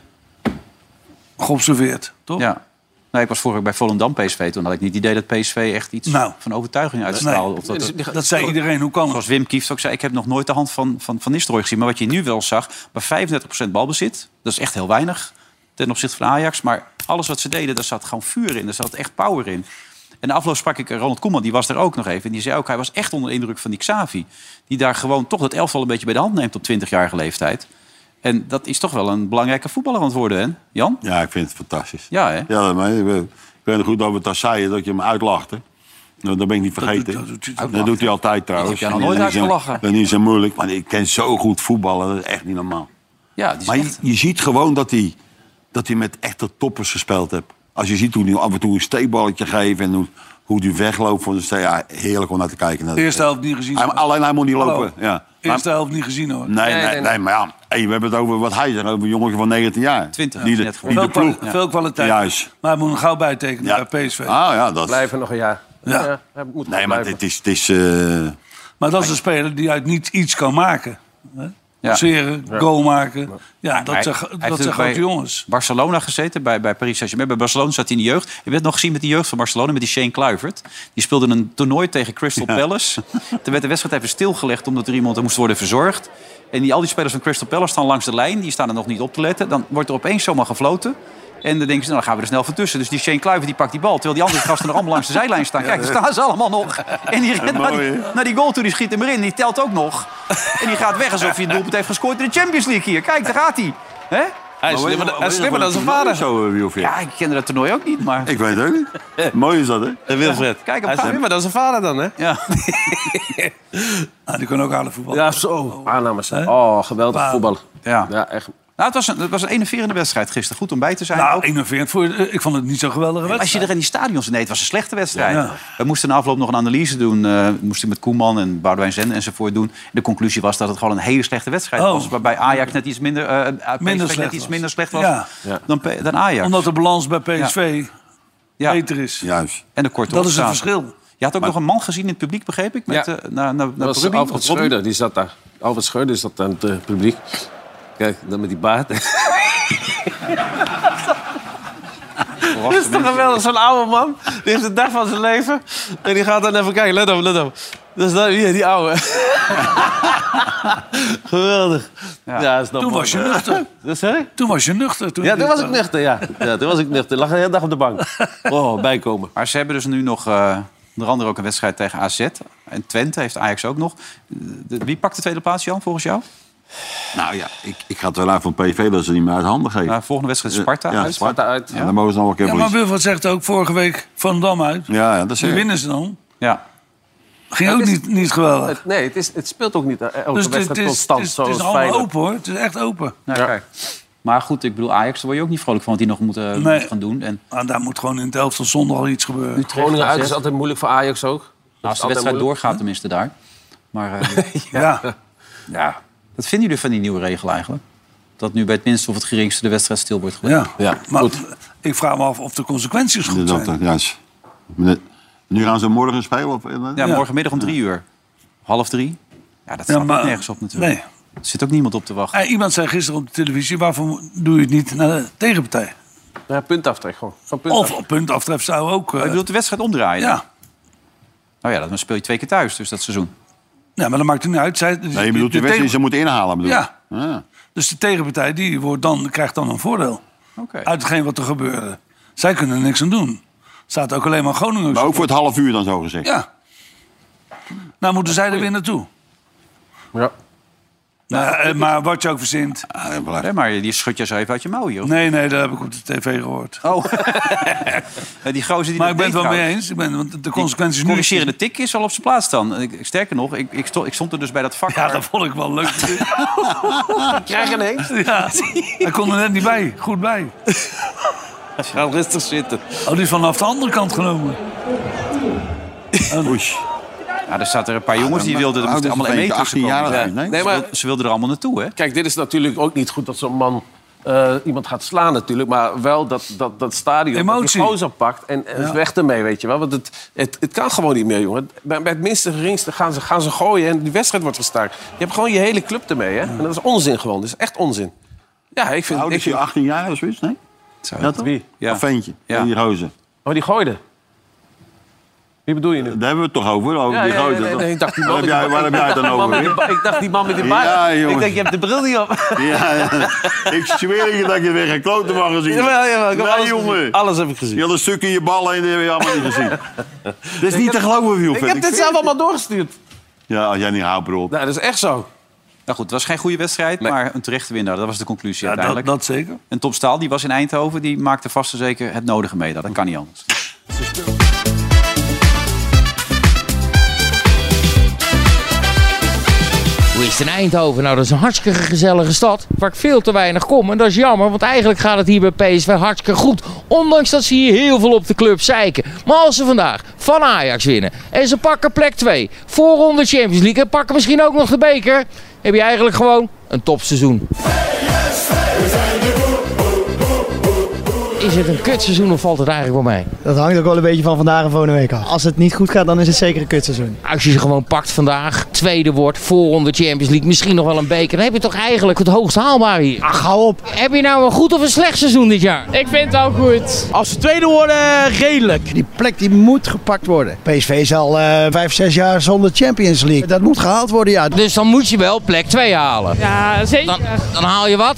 Speaker 3: geobserveerd, toch?
Speaker 2: Ja. Nee, ik was vorige week bij Volendam PSV. Toen had ik niet het idee dat PSV echt iets
Speaker 3: Nou.
Speaker 2: van overtuiging uitstraalde. Of dat,
Speaker 5: Die gaan-
Speaker 3: Dat zei iedereen, hoe kan het?
Speaker 2: zoals Wim Kieft ook zei, ik heb nog nooit de hand van, van, van Nistelrooy gezien. Maar wat je nu wel zag, bij 35% balbezit, dat is echt heel weinig ten opzichte van Ajax. Maar alles wat ze deden, daar zat gewoon vuur in, daar zat echt power in. En de afloop sprak ik Ronald Koeman, die was daar ook nog even. En die zei ook, hij was echt onder de indruk van die Xavi. Die daar gewoon toch dat elftal een beetje bij de hand neemt op 20-jarige leeftijd. En dat is toch wel een belangrijke voetballer aan het worden, hè? Jan?
Speaker 4: Ja, ik vind het fantastisch.
Speaker 2: Ja, hè?
Speaker 4: Ja, maar ik weet- ik weet nog goed dat we het daar zeiden, dat je hem uitlachte. Nou, dat ben ik niet vergeten.
Speaker 3: doet- dat
Speaker 4: Dat
Speaker 3: doet
Speaker 4: doet,
Speaker 3: hij-
Speaker 4: hij altijd trouwens.
Speaker 2: Ik heb jou nog
Speaker 4: En
Speaker 2: nooit
Speaker 4: dan is hij-
Speaker 2: uitgelachen.
Speaker 4: Dan is het moeilijk. Maar ik ken zo goed voetballen, dat is echt niet normaal.
Speaker 2: Ja, die is
Speaker 4: Maar je,
Speaker 2: echt-
Speaker 4: je ziet gewoon dat hij, dat hij met echte toppers gespeeld heeft. Als je ziet hoe hij af en toe een steekballetje geeft en hoe, hoe hij wegloopt voor de steek. Ja, heerlijk om naar te kijken. Naar
Speaker 3: De eerste helft niet gezien.
Speaker 4: hij, alleen hij moet niet
Speaker 3: Hallo.
Speaker 4: lopen. Ja. Maar-
Speaker 3: Eerste helft niet gezien, hoor.
Speaker 4: nee, nee,
Speaker 5: nee,
Speaker 4: nee,
Speaker 5: nee.
Speaker 4: maar ja. Hey, we hebben het over wat hij zegt, over een jongetje van 19 jaar.
Speaker 2: 20,
Speaker 4: die de,
Speaker 2: net gewoon.
Speaker 4: die
Speaker 3: Veel,
Speaker 4: de ploeg.
Speaker 3: kwa- veel kwaliteit.
Speaker 4: Juist.
Speaker 3: Maar hij moet hem gauw bijtekenen
Speaker 4: Ja.
Speaker 3: bij PSV.
Speaker 4: Ah ja, dat
Speaker 5: Blijven nog een jaar.
Speaker 3: Ja.
Speaker 5: hij moet
Speaker 4: Nee, maar
Speaker 5: blijven.
Speaker 4: het is... Het is eh,
Speaker 3: Maar dat is een speler die uit niets iets kan maken.
Speaker 2: Ja.
Speaker 3: Passeren, goal maken. Ja, dat
Speaker 2: Hij-
Speaker 3: zijn,
Speaker 2: hij
Speaker 3: dat
Speaker 2: heeft
Speaker 3: zijn
Speaker 2: natuurlijk
Speaker 3: grote
Speaker 2: bij
Speaker 3: jongens.
Speaker 2: Barcelona gezeten, bij, bij Paris Saint-Germain. Bij Barcelona zat hij in de jeugd. Je werd nog gezien met de jeugd van Barcelona, met die Shane Kluivert. Die speelde een toernooi tegen Crystal Palace. Toen werd de wedstrijd even stilgelegd, omdat er iemand er moest worden verzorgd. En die, al die spelers van Crystal Palace staan langs de lijn. Die staan er nog niet op te letten. Dan wordt er opeens zomaar gefloten. En dan denken ze, nou dan gaan we er snel van tussen. Dus die Shane Kluivert die pakt die bal. Terwijl die andere gasten nog allemaal langs de zijlijn staan. Kijk, daar staan ze allemaal nog. En die rent naar die,
Speaker 4: Mooi, hè?
Speaker 2: naar die goal toe, die schiet hem erin. Die telt ook nog. En die gaat weg alsof hij het doelpunt heeft gescoord in de Champions League hier. Kijk, daar gaat hij. Hè?
Speaker 6: Hij is
Speaker 4: Maar weet
Speaker 6: slimmer, dan-
Speaker 4: je-
Speaker 6: hij is
Speaker 4: weet je
Speaker 6: slimmer dan zijn
Speaker 4: wat het
Speaker 6: vader.
Speaker 4: Zo, eh, Wilfried.
Speaker 2: Ja, ik kende dat toernooi ook niet, maar...
Speaker 4: Ik weet het ook niet. Mooi is dat, hè?
Speaker 6: En Wilfred.
Speaker 2: Kijk,
Speaker 6: hij
Speaker 2: op
Speaker 6: is
Speaker 2: gaan.
Speaker 6: slimmer dan zijn vader dan, hè?
Speaker 2: Ja.
Speaker 3: Nou, die kan ook aan voetbal.
Speaker 5: Ja, zo. Aannames. Oh, geweldig
Speaker 3: Wauw.
Speaker 5: voetbal.
Speaker 2: ja.
Speaker 5: Ja, echt.
Speaker 2: Nou, het was een, het was een enerverende wedstrijd gisteren. Goed om bij te zijn.
Speaker 3: Nou,
Speaker 2: ook.
Speaker 3: 41 voor, ik vond het niet zo'n geweldige
Speaker 2: Als je
Speaker 3: wedstrijd.
Speaker 2: er in die stadions... Nee, het was een slechte wedstrijd.
Speaker 3: Ja.
Speaker 2: We moesten na afloop nog een analyse doen. eh moesten met Koeman en Boudewijn Zen enzovoort doen. De conclusie was dat het gewoon een hele slechte wedstrijd
Speaker 3: Oh.
Speaker 2: was. Waarbij Ajax net iets minder, eh, PSV
Speaker 3: Minder
Speaker 2: net
Speaker 3: slecht
Speaker 2: iets
Speaker 3: was.
Speaker 2: minder slecht was
Speaker 3: Ja.
Speaker 2: Dan, P- dan Ajax.
Speaker 3: Omdat de balans bij PSV
Speaker 2: ja.
Speaker 3: beter is.
Speaker 4: Juist.
Speaker 2: En de korte
Speaker 3: Dat is het
Speaker 2: opstaande.
Speaker 3: verschil.
Speaker 2: Je had ook nog een man gezien in het publiek, begreep ik? Met,
Speaker 5: Ja.
Speaker 2: eh, naar, naar, naar
Speaker 5: Dat was
Speaker 2: Ruby,
Speaker 5: Alfred
Speaker 2: of Robin?
Speaker 5: Schreuder, die zat daar. Alfred Schreuder zat daar in het eh, publiek. Kijk, dan met die baard. dat is toch geweldig, zo'n oude man. Die heeft de dag van zijn leven. En die gaat dan even kijken. Let op, let op. Dat is dan hier, die oude. geweldig. Ja, dat is nog
Speaker 3: Toen
Speaker 5: mooi,
Speaker 3: was je
Speaker 5: man.
Speaker 3: nuchter.
Speaker 5: Dat zeg ik?
Speaker 3: Toen was je nuchter. Toen
Speaker 5: Ja,
Speaker 3: dit
Speaker 5: toen was ik
Speaker 3: kwam.
Speaker 5: nuchter, ja. ja toen was ik nuchter. Lag de hele dag op de bank. Oh, bijkomen.
Speaker 2: Maar ze hebben dus nu nog eh, onder andere ook een wedstrijd tegen AZ. En Twente heeft Ajax ook nog. De- wie pakt de tweede plaats, Jan, volgens jou?
Speaker 4: Nou ja, ik, ik ga het wel aan van PV dat ze niet meer uit handen geven.
Speaker 2: Nou, volgende wedstrijd is Sparta.
Speaker 4: Ja,
Speaker 2: uit.
Speaker 4: Sparta uit.
Speaker 5: uit.
Speaker 4: Ja, dan mogen ze nog wel een keer
Speaker 3: Ja, maar
Speaker 4: verliezen.
Speaker 3: Wilfred zegt ook vorige week Van Dam uit.
Speaker 4: Ja, ja, dat is
Speaker 3: Die
Speaker 4: het.
Speaker 3: winnen ze dan.
Speaker 2: Ja.
Speaker 3: Ging
Speaker 5: Het
Speaker 3: ook
Speaker 5: is-
Speaker 3: niet, niet geweldig.
Speaker 5: Het- Nee, het, is, het speelt ook niet eh, elke
Speaker 3: Dus het is,
Speaker 5: wedstrijd
Speaker 3: het is,
Speaker 5: constant.
Speaker 3: het is
Speaker 5: zoals
Speaker 3: allemaal
Speaker 5: Feyenoord.
Speaker 3: open hoor. Het is echt open.
Speaker 2: Nou, kijk. Maar goed, ik bedoel, Ajax, daar word je ook niet vrolijk van wat die nog moeten
Speaker 3: Nee.
Speaker 2: moeten gaan doen. En
Speaker 3: Maar Nou, daar moet gewoon in het helft van zondag al iets gebeuren.
Speaker 5: Groningen uit is altijd moeilijk voor Ajax ook.
Speaker 3: Nou,
Speaker 5: Dat
Speaker 2: als
Speaker 5: is
Speaker 2: de
Speaker 5: altijd
Speaker 2: wedstrijd
Speaker 5: moeilijk.
Speaker 2: doorgaat, tenminste daar. Maar eh,
Speaker 3: Ja.
Speaker 2: ja, wat vinden jullie van die nieuwe regel eigenlijk? Dat nu bij het minste of het geringste de wedstrijd stil wordt gelegd.
Speaker 3: Ja.
Speaker 5: Ja,
Speaker 3: maar ik vraag me af of de consequenties goed
Speaker 4: Dat-
Speaker 3: zijn.
Speaker 4: dat- Juist. Nu gaan ze morgen spelen? Of, eh,
Speaker 2: Ja, morgenmiddag om drie uur. Half drie. Ja, dat staat
Speaker 3: maar-
Speaker 2: nergens op natuurlijk.
Speaker 3: Nee.
Speaker 2: Er zit ook niemand op te wachten.
Speaker 3: Eh, iemand zei gisteren op de televisie, waarvoor doe je het niet naar de tegenpartij?
Speaker 5: Ja, puntaftrek gewoon. Van punt
Speaker 3: Of op puntaftref zou ook... eh,
Speaker 2: Je bedoelt de wedstrijd omdraaien?
Speaker 3: ja.
Speaker 2: Nou ja, dan speel je twee keer thuis dus dat seizoen.
Speaker 3: ja, maar dat maakt het niet uit. Zij, dus
Speaker 4: Nee, je bedoelt de wedstrijd die ze moeten inhalen, bedoel je?
Speaker 3: Ja.
Speaker 4: Ja.
Speaker 3: Dus de tegenpartij die wordt dan, krijgt dan een voordeel.
Speaker 2: Oké.
Speaker 3: Uit hetgeen wat er gebeurde. Zij kunnen er niks aan doen. Staat ook alleen maar Groningen.
Speaker 4: Maar ook voor het half uur dan zo gezegd.
Speaker 3: Ja. Nou moeten zij er weer naartoe.
Speaker 5: Ja.
Speaker 3: Nou, eh, maar wat je ook verzint.
Speaker 2: Nee, maar die schud je zo even uit je mouw, joh.
Speaker 3: Nee, nee, dat heb ik op de tv gehoord.
Speaker 2: Oh. die gozer die
Speaker 3: Maar
Speaker 2: dat
Speaker 3: ik ben
Speaker 2: deed
Speaker 3: het wel mee
Speaker 2: trouwens.
Speaker 3: eens. Ik ben, want de
Speaker 2: Die
Speaker 3: consequenties nu...
Speaker 2: corrigerende tik is al op zijn plaats dan. Ik, sterker nog, ik, ik, stond, ik stond er dus bij dat vak.
Speaker 3: Ja,
Speaker 2: waar-
Speaker 3: dat vond ik wel leuk.
Speaker 5: Krijg een heen?
Speaker 3: ja. Hij kon er net niet bij. Goed bij.
Speaker 5: Ga rustig zitten.
Speaker 3: Oh, die is vanaf de andere kant genomen.
Speaker 2: Ja, er zaten er een paar jongens die wilden... Er moesten allemaal
Speaker 4: een
Speaker 2: meters
Speaker 4: 18 jaar
Speaker 2: komen.
Speaker 4: uit, nee?
Speaker 5: Nee, maar
Speaker 2: Ze wilden er allemaal naartoe, hè? Nou
Speaker 5: Kijk, dit is natuurlijk ook niet goed dat zo'n man eh, iemand gaat slaan natuurlijk. Maar wel dat, dat, dat stadion dat
Speaker 3: Emotie.
Speaker 5: die gozer pakt en, en weg ermee, weet je wel. Want het, het, het kan gewoon niet meer, jongen. Bij, bij het minste geringste gaan ze, gaan ze gooien en die wedstrijd wordt gestaakt. Je hebt gewoon je hele club ermee, hè. En dat is onzin gewoon. Dat is echt onzin. Ja, ik vind...
Speaker 4: Oud
Speaker 5: Ik
Speaker 4: is hij
Speaker 5: vind
Speaker 4: 18 jaar of zoiets? Nee? Ja, toch?
Speaker 5: Wie?
Speaker 2: Ja.
Speaker 4: Een ventje.
Speaker 2: Ja.
Speaker 4: Die rozen.
Speaker 5: oh, die gooide. Wie bedoel je nu?
Speaker 4: Daar hebben we het toch over? over
Speaker 5: Ja,
Speaker 4: die
Speaker 5: ja, ja,
Speaker 4: gozer.
Speaker 5: nee, nee, ik dacht die man
Speaker 4: waar, heb jij,
Speaker 5: met die-
Speaker 4: waar heb jij het dan
Speaker 5: Man met
Speaker 4: over?
Speaker 5: de ba- ik dacht die man met die baard.
Speaker 4: Ja, jongen.
Speaker 5: ik denk, je hebt de bril niet op.
Speaker 4: Ja, ja. Ik zweer je dat ik je weer geen klote mag gezien.
Speaker 5: Jawel, jawel, ik heb
Speaker 4: Nee,
Speaker 5: alles gezien.
Speaker 4: jongen.
Speaker 5: Alles heb ik gezien.
Speaker 4: Je had een stuk in je ballen en die heb je allemaal niet gezien. Dat is niet te geloven, Wiel.
Speaker 5: Ik heb dit zelf allemaal doorgestuurd.
Speaker 4: Ja, als jij niet houdt, bro.
Speaker 5: Nou, dat is echt zo.
Speaker 2: Nou goed, het was geen goede wedstrijd, maar een terechte winnaar. Dat was de conclusie
Speaker 3: Ja, dat,
Speaker 2: uiteindelijk.
Speaker 3: dat zeker.
Speaker 2: En Tom Staal, die was in Eindhoven, die maakte vast en zeker het nodige mee. daar. Dat kan niet anders.
Speaker 9: Hoe is het in Eindhoven? Nou, dat is een hartstikke gezellige stad waar ik veel te weinig kom. En dat is jammer, want eigenlijk gaat het hier bij PSV hartstikke goed. Ondanks dat ze hier heel veel op de club zeiken. Maar als ze vandaag van Ajax winnen en ze pakken plek 2, voorronde Champions League en pakken misschien ook nog de beker, heb je eigenlijk gewoon een topseizoen. Is het een kutseizoen of valt het eigenlijk wel mee?
Speaker 10: Dat hangt ook wel een beetje van vandaag en volgende week af. Als het niet goed gaat, dan is het zeker een kutseizoen.
Speaker 9: Nou, Als je ze gewoon pakt vandaag, tweede wordt, voorronde Champions League, misschien nog wel een beker, dan heb je toch eigenlijk het hoogst haalbare hier.
Speaker 10: Ach, hou op.
Speaker 9: Heb je nou een goed of een slecht seizoen dit jaar?
Speaker 11: Ik vind het wel goed.
Speaker 10: Als ze tweede worden, redelijk. Die plek die moet gepakt worden. PSV is al eh, vijf, zes jaar zonder Champions League. Dat moet gehaald worden, ja.
Speaker 9: Dus dan moet je wel plek 2 halen.
Speaker 11: Ja,
Speaker 9: Dan,
Speaker 11: zeker.
Speaker 9: dan haal je wat?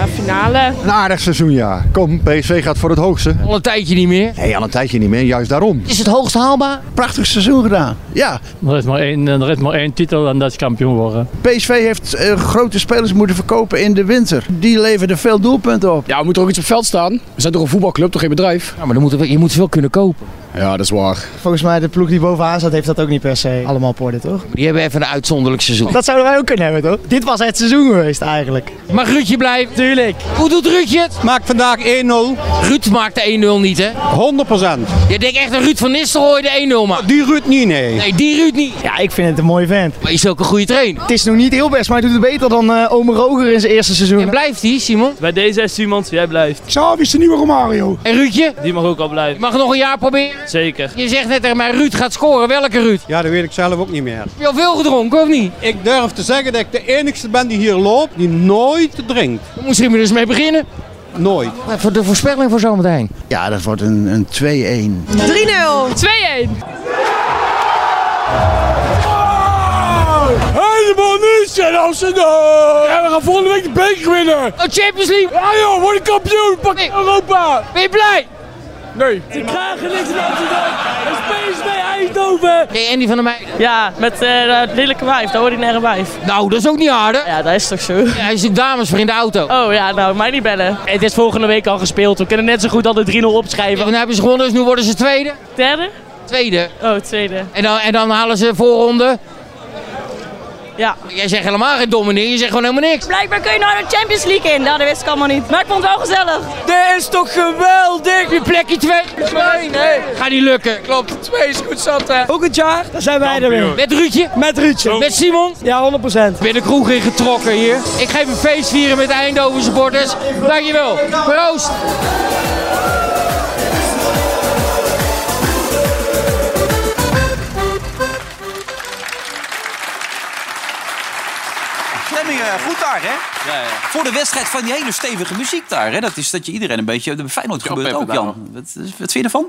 Speaker 11: Ja, finale.
Speaker 12: Een aardig seizoen, ja. Kom, PSV gaat voor het hoogste.
Speaker 9: Al een tijdje niet meer.
Speaker 12: Nee, al een tijdje niet meer, juist daarom.
Speaker 9: Is het hoogst haalbaar?
Speaker 10: Prachtig seizoen gedaan. Ja,
Speaker 11: Er is maar één, er is maar één titel en dat is kampioen worden.
Speaker 10: PSV heeft eh, grote spelers moeten verkopen in de winter. Die leverden veel doelpunten op.
Speaker 11: Ja, we moeten ook iets op het veld staan. We zijn toch een voetbalclub, toch geen bedrijf?
Speaker 9: Ja, maar dan moet je, je moet wel kunnen kopen.
Speaker 11: Ja, dat is waar.
Speaker 10: Volgens mij de ploeg die bovenaan zat, heeft dat ook niet per se allemaal op orde, toch?
Speaker 9: Die hebben even een uitzonderlijk seizoen.
Speaker 10: Dat zouden wij ook kunnen hebben, toch? Dit was het seizoen geweest, eigenlijk.
Speaker 9: Mag Ruudje blijven? Tuurlijk. Hoe doet Ruudje het?
Speaker 12: Maak vandaag 1-0, 100%.
Speaker 9: Ruud maakt de 1-0 niet, hè? Je denkt echt dat Ruud van Nistelrooy de 1-0 maakt.
Speaker 12: Die Ruud niet, nee.
Speaker 9: Nee, die Ruud niet.
Speaker 10: Ja, ik vind het een mooie vent.
Speaker 9: Maar is ook een goede trainer.
Speaker 10: Het is nog niet heel best, maar hij doet het beter dan eh Ome Roger in zijn eerste
Speaker 9: En
Speaker 10: seizoen.
Speaker 9: blijft die, Simon?
Speaker 11: Bij deze is Simons, jij blijft.
Speaker 12: Xavi is de nieuwe Romario.
Speaker 9: En Ruudje?
Speaker 11: Die mag ook al
Speaker 9: Je
Speaker 11: blijven.
Speaker 9: mag nog een jaar proberen.
Speaker 11: Zeker.
Speaker 9: Je zegt net tegen mij, Ruud gaat scoren. Welke Ruud?
Speaker 12: Ja, dat weet ik zelf ook niet meer.
Speaker 9: Heb je al veel gedronken, of niet?
Speaker 12: Ik durf te zeggen dat ik de enigste ben die hier loopt die nooit drinkt.
Speaker 9: Daar moesten we dus mee beginnen.
Speaker 12: Nooit.
Speaker 9: Voor de voorspelling voor zometeen.
Speaker 10: Ja, dat wordt een, een 2-1.
Speaker 11: 3-0. 2-1.
Speaker 6: Helemaal niets in Amsterdam! Ja, we gaan volgende week de beker winnen!
Speaker 9: Oh, Champions League!
Speaker 6: Ja joh, word een kampioen! Pak
Speaker 9: Nee.
Speaker 6: Europa!
Speaker 9: Ben je blij?
Speaker 6: Ze krijgen niks in Amsterdam! Het is PSV Eindhoven!
Speaker 9: Nee, Andy van der Meijden.
Speaker 11: Ja, met dat lelijke wijf, daar hoor ik nergens bij.
Speaker 9: Nou, dat is ook niet harder.
Speaker 11: Ja, dat is toch zo.
Speaker 9: Hij is ook dames voor in de auto. En
Speaker 11: Oh ja, nou, mij niet bellen. Het is volgende week al gespeeld. We kunnen net zo goed al de 3-0 opschrijven.
Speaker 9: dan hebben ze gewonnen, dus nu worden ze tweede.
Speaker 11: Derde?
Speaker 9: Tweede.
Speaker 11: Oh, tweede.
Speaker 9: En dan, en dan halen ze voorronde.
Speaker 11: Ja.
Speaker 9: Jij zegt helemaal geen domme dingen, je zegt gewoon helemaal niks.
Speaker 11: Blijkbaar kun je nou de Champions League in. Nou, dat wist ik allemaal niet. Maar ik vond het wel gezellig.
Speaker 9: Dit is toch geweldig! Je plekje twee. Nee, nee. Gaat niet lukken. Klopt. Twee is goed zat, hè.
Speaker 10: Volgend jaar, daar zijn wij er weer.
Speaker 9: Met Ruudje.
Speaker 10: Met Ruudje.
Speaker 9: Met Simon.
Speaker 10: Ja, 100%.
Speaker 9: Ik ben de kroeg ingetrokken hier. Ik geef een feest vieren met de Eindhoven supporters. Dankjewel. Proost.
Speaker 2: Flemmingen, eh, goed daar, hè? Voor de wedstrijd van die hele stevige muziek daar, hè? Dat is dat je iedereen een beetje... Bij Feyenoord gebeurt ook,
Speaker 5: peppen daar,
Speaker 2: Jan. Wat, wat vind je ervan?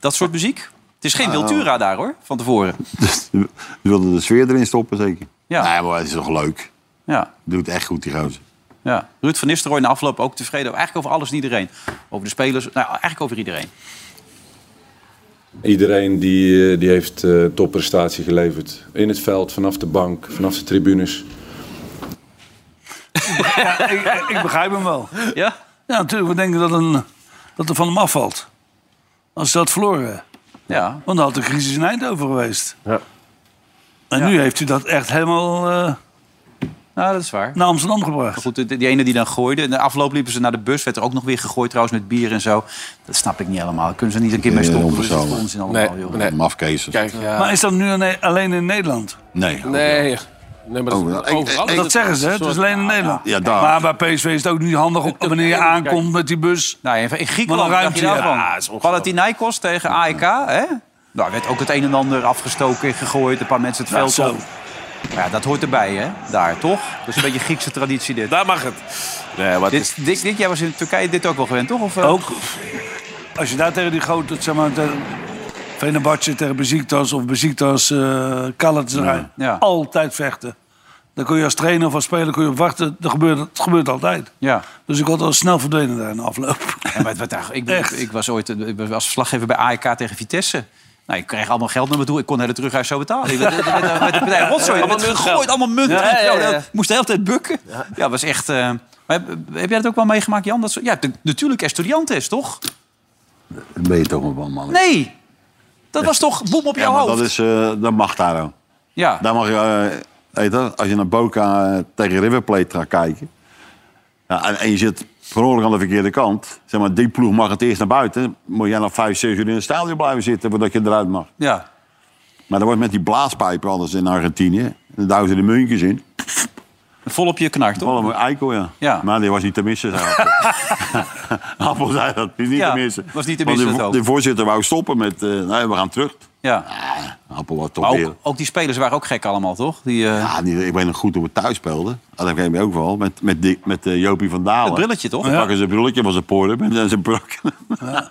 Speaker 2: Dat soort muziek? Het is
Speaker 3: Nou.
Speaker 2: geen Wiltura daar, hoor, van tevoren.
Speaker 4: Ze Dus, wilden de sfeer erin stoppen, zeker.
Speaker 2: Ja.
Speaker 4: Nee, maar het is toch leuk.
Speaker 2: Ja,
Speaker 4: Doet echt goed, die gozer.
Speaker 2: ja. Ruud van Nistelrooy na afloop ook tevreden. Eigenlijk over alles en iedereen. Over de spelers, nou, eigenlijk over iedereen.
Speaker 13: Iedereen die, eh, die heeft eh, topprestatie geleverd. In het veld, vanaf de bank, vanaf de tribunes.
Speaker 3: Ja, ik, ik begrijp hem wel. Ja? Ja, natuurlijk. We denken dat, een, dat er van hem afvalt. Als ze dat verloren.
Speaker 2: Ja.
Speaker 3: Want dan had de crisis in Eindhoven geweest. Ja. En nu heeft u dat echt helemaal... eh,
Speaker 2: Nou, dat is waar.
Speaker 3: Naar Amsterdam gebracht.
Speaker 2: goed, die, die ene die dan gooide. In de afloop liepen ze naar de bus. Werd er ook nog weer gegooid trouwens met bier en zo. Dat snap ik niet helemaal. Kunnen ze niet een keer mee stoppen? Dat is toch onzin allemaal, Oh, joh.
Speaker 4: Mafkezen.
Speaker 3: Maar is dat nu alleen- alleen in Nederland?
Speaker 4: Nee.
Speaker 5: Nee. Nee, maar dat,
Speaker 4: Oh, ik-
Speaker 5: overal is
Speaker 3: dat
Speaker 5: het
Speaker 3: zeggen ze, hè?
Speaker 5: een
Speaker 3: het is
Speaker 5: soort-
Speaker 3: alleen in Nederland.
Speaker 4: Ja, daar.
Speaker 3: Maar bij PSV is het ook niet handig om- wanneer je aankomt met die bus.
Speaker 2: Nou, in Griekenland
Speaker 3: Wat een
Speaker 2: dacht je
Speaker 3: ruimte,
Speaker 2: daarvan.
Speaker 3: ja.
Speaker 2: Panathinaikos tegen AEK, hè? Daar werd ook het een en ander afgestoken, gegooid. Een paar mensen het
Speaker 3: Nou,
Speaker 2: veld
Speaker 3: zo.
Speaker 2: op. Maar ja, dat hoort erbij, hè? Daar, toch? Dat is een beetje Griekse traditie, dit.
Speaker 14: Daar mag het. Nee, maar
Speaker 2: dit, Dick, Dick, jij was in Turkije dit ook wel gewend, toch? Of, eh?
Speaker 3: Ook. Als je daar tegen die grote, zeg maar, tegen Fenerbahce tegen Besiktas of Besiktas eh Galatasaray.
Speaker 2: Ja.
Speaker 3: Altijd vechten. Dan kun je als trainer of als speler kun je op wachten. Dat gebeurt, het gebeurt altijd.
Speaker 2: Ja.
Speaker 3: Dus ik had al snel verdwenen daar in de afloop.
Speaker 2: Ja, maar wat, daar- ik, ben-
Speaker 3: Echt.
Speaker 2: ik was ooit eh, ik was als verslaggever bij AEK tegen Vitesse. Nou, ik kreeg allemaal geld naar me toe. Ik kon de hele terughuis zo betalen. Ik werd- werd- werd- werd- werd- werd- rotzooi. Er werd
Speaker 5: Allemaal
Speaker 2: gegooid,
Speaker 5: muntgeld.
Speaker 2: allemaal munt.
Speaker 5: Ja, ja, ja, ja.
Speaker 2: Ik moest de hele tijd bukken. Ja, was echt... eh, maar heb, heb jij dat ook wel meegemaakt, Jan? Dat, zo- ja, de- natuurlijk Estudiantes, toch?
Speaker 4: Dat ben je toch nog wel, man.
Speaker 2: Nee! Dat was toch boem op
Speaker 4: Ja,
Speaker 2: jouw
Speaker 4: maar
Speaker 2: hoofd?
Speaker 4: dat, is, eh, dat mag daar dan.
Speaker 2: Ja.
Speaker 4: Daar mag je, eh, weet je, als je naar Boca eh, tegen River Plate gaat kijken... Ja, en, en je zit per ongeluk aan de verkeerde kant... Zeg maar, die ploeg mag het eerst naar buiten. Moet jij nog vijf, zes uur in het stadion blijven zitten... voordat je eruit mag.
Speaker 2: Ja.
Speaker 4: Maar dat wordt met die blaaspijpen anders in Argentinië. Dan duwen ze de muntjes in.
Speaker 2: Vol op je knar, toch?
Speaker 4: Vol op mijn eikel, ja.
Speaker 2: Ja.
Speaker 4: Maar die was niet te missen, zei Appel. Appel zei dat, die is niet
Speaker 2: Ja,
Speaker 4: te missen.
Speaker 2: was niet te
Speaker 4: Want
Speaker 2: missen,
Speaker 4: die,
Speaker 2: dat ook.
Speaker 4: die voorzitter wou stoppen met... eh, nee, we gaan terug.
Speaker 2: Ja.
Speaker 4: Appel was toch
Speaker 2: Maar
Speaker 4: weer-
Speaker 2: ook, ook die spelers waren ook gek allemaal, toch? Die, eh,
Speaker 4: Ja, die- ik weet nog goed hoe we thuis speelden. Ah, Dat weet ik ook wel. Met, met, Dick- met eh, Jopie van Dalen.
Speaker 2: Het brilletje, toch?
Speaker 4: Dan
Speaker 2: Ja.
Speaker 4: pakken ze een brilletje van zijn poren en dan zijn brak. Ja, dat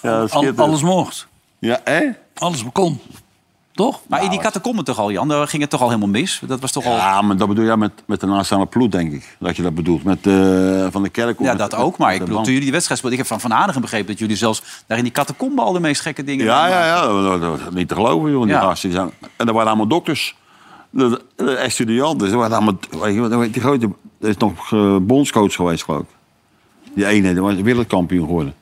Speaker 4: is
Speaker 3: Al-
Speaker 4: schitterend.
Speaker 3: alles mocht.
Speaker 4: Ja, hè?
Speaker 3: Alles kon. Toch? Nou,
Speaker 2: Maar in die catacomben toch al, Jan? Daar ging het toch al helemaal mis? Dat was toch al...
Speaker 4: Ja, maar dat bedoel je met, met de naaststaande ploeg, denk ik. Dat je dat bedoelt. Met eh, Van de Kerk.
Speaker 2: Ja, dat ook. Maar ik bedoel, toen jullie die wedstrijd speelden... Ik heb van Van Aanigen begrepen dat jullie zelfs daar in die catacomben al de meest gekke dingen...
Speaker 4: Ja,
Speaker 2: deden.
Speaker 4: ja, ja. Dat, dat- dat- dat- niet te geloven, joh. Die
Speaker 2: Ja.
Speaker 4: gasten die zijn... En dat waren allemaal dokters. De, de estudianten. Dat waren allemaal... Weet je, wat, die grote... Er is nog eh, bondscoach geweest, geloof ik. Die ene, die was wereldkampioen geworden.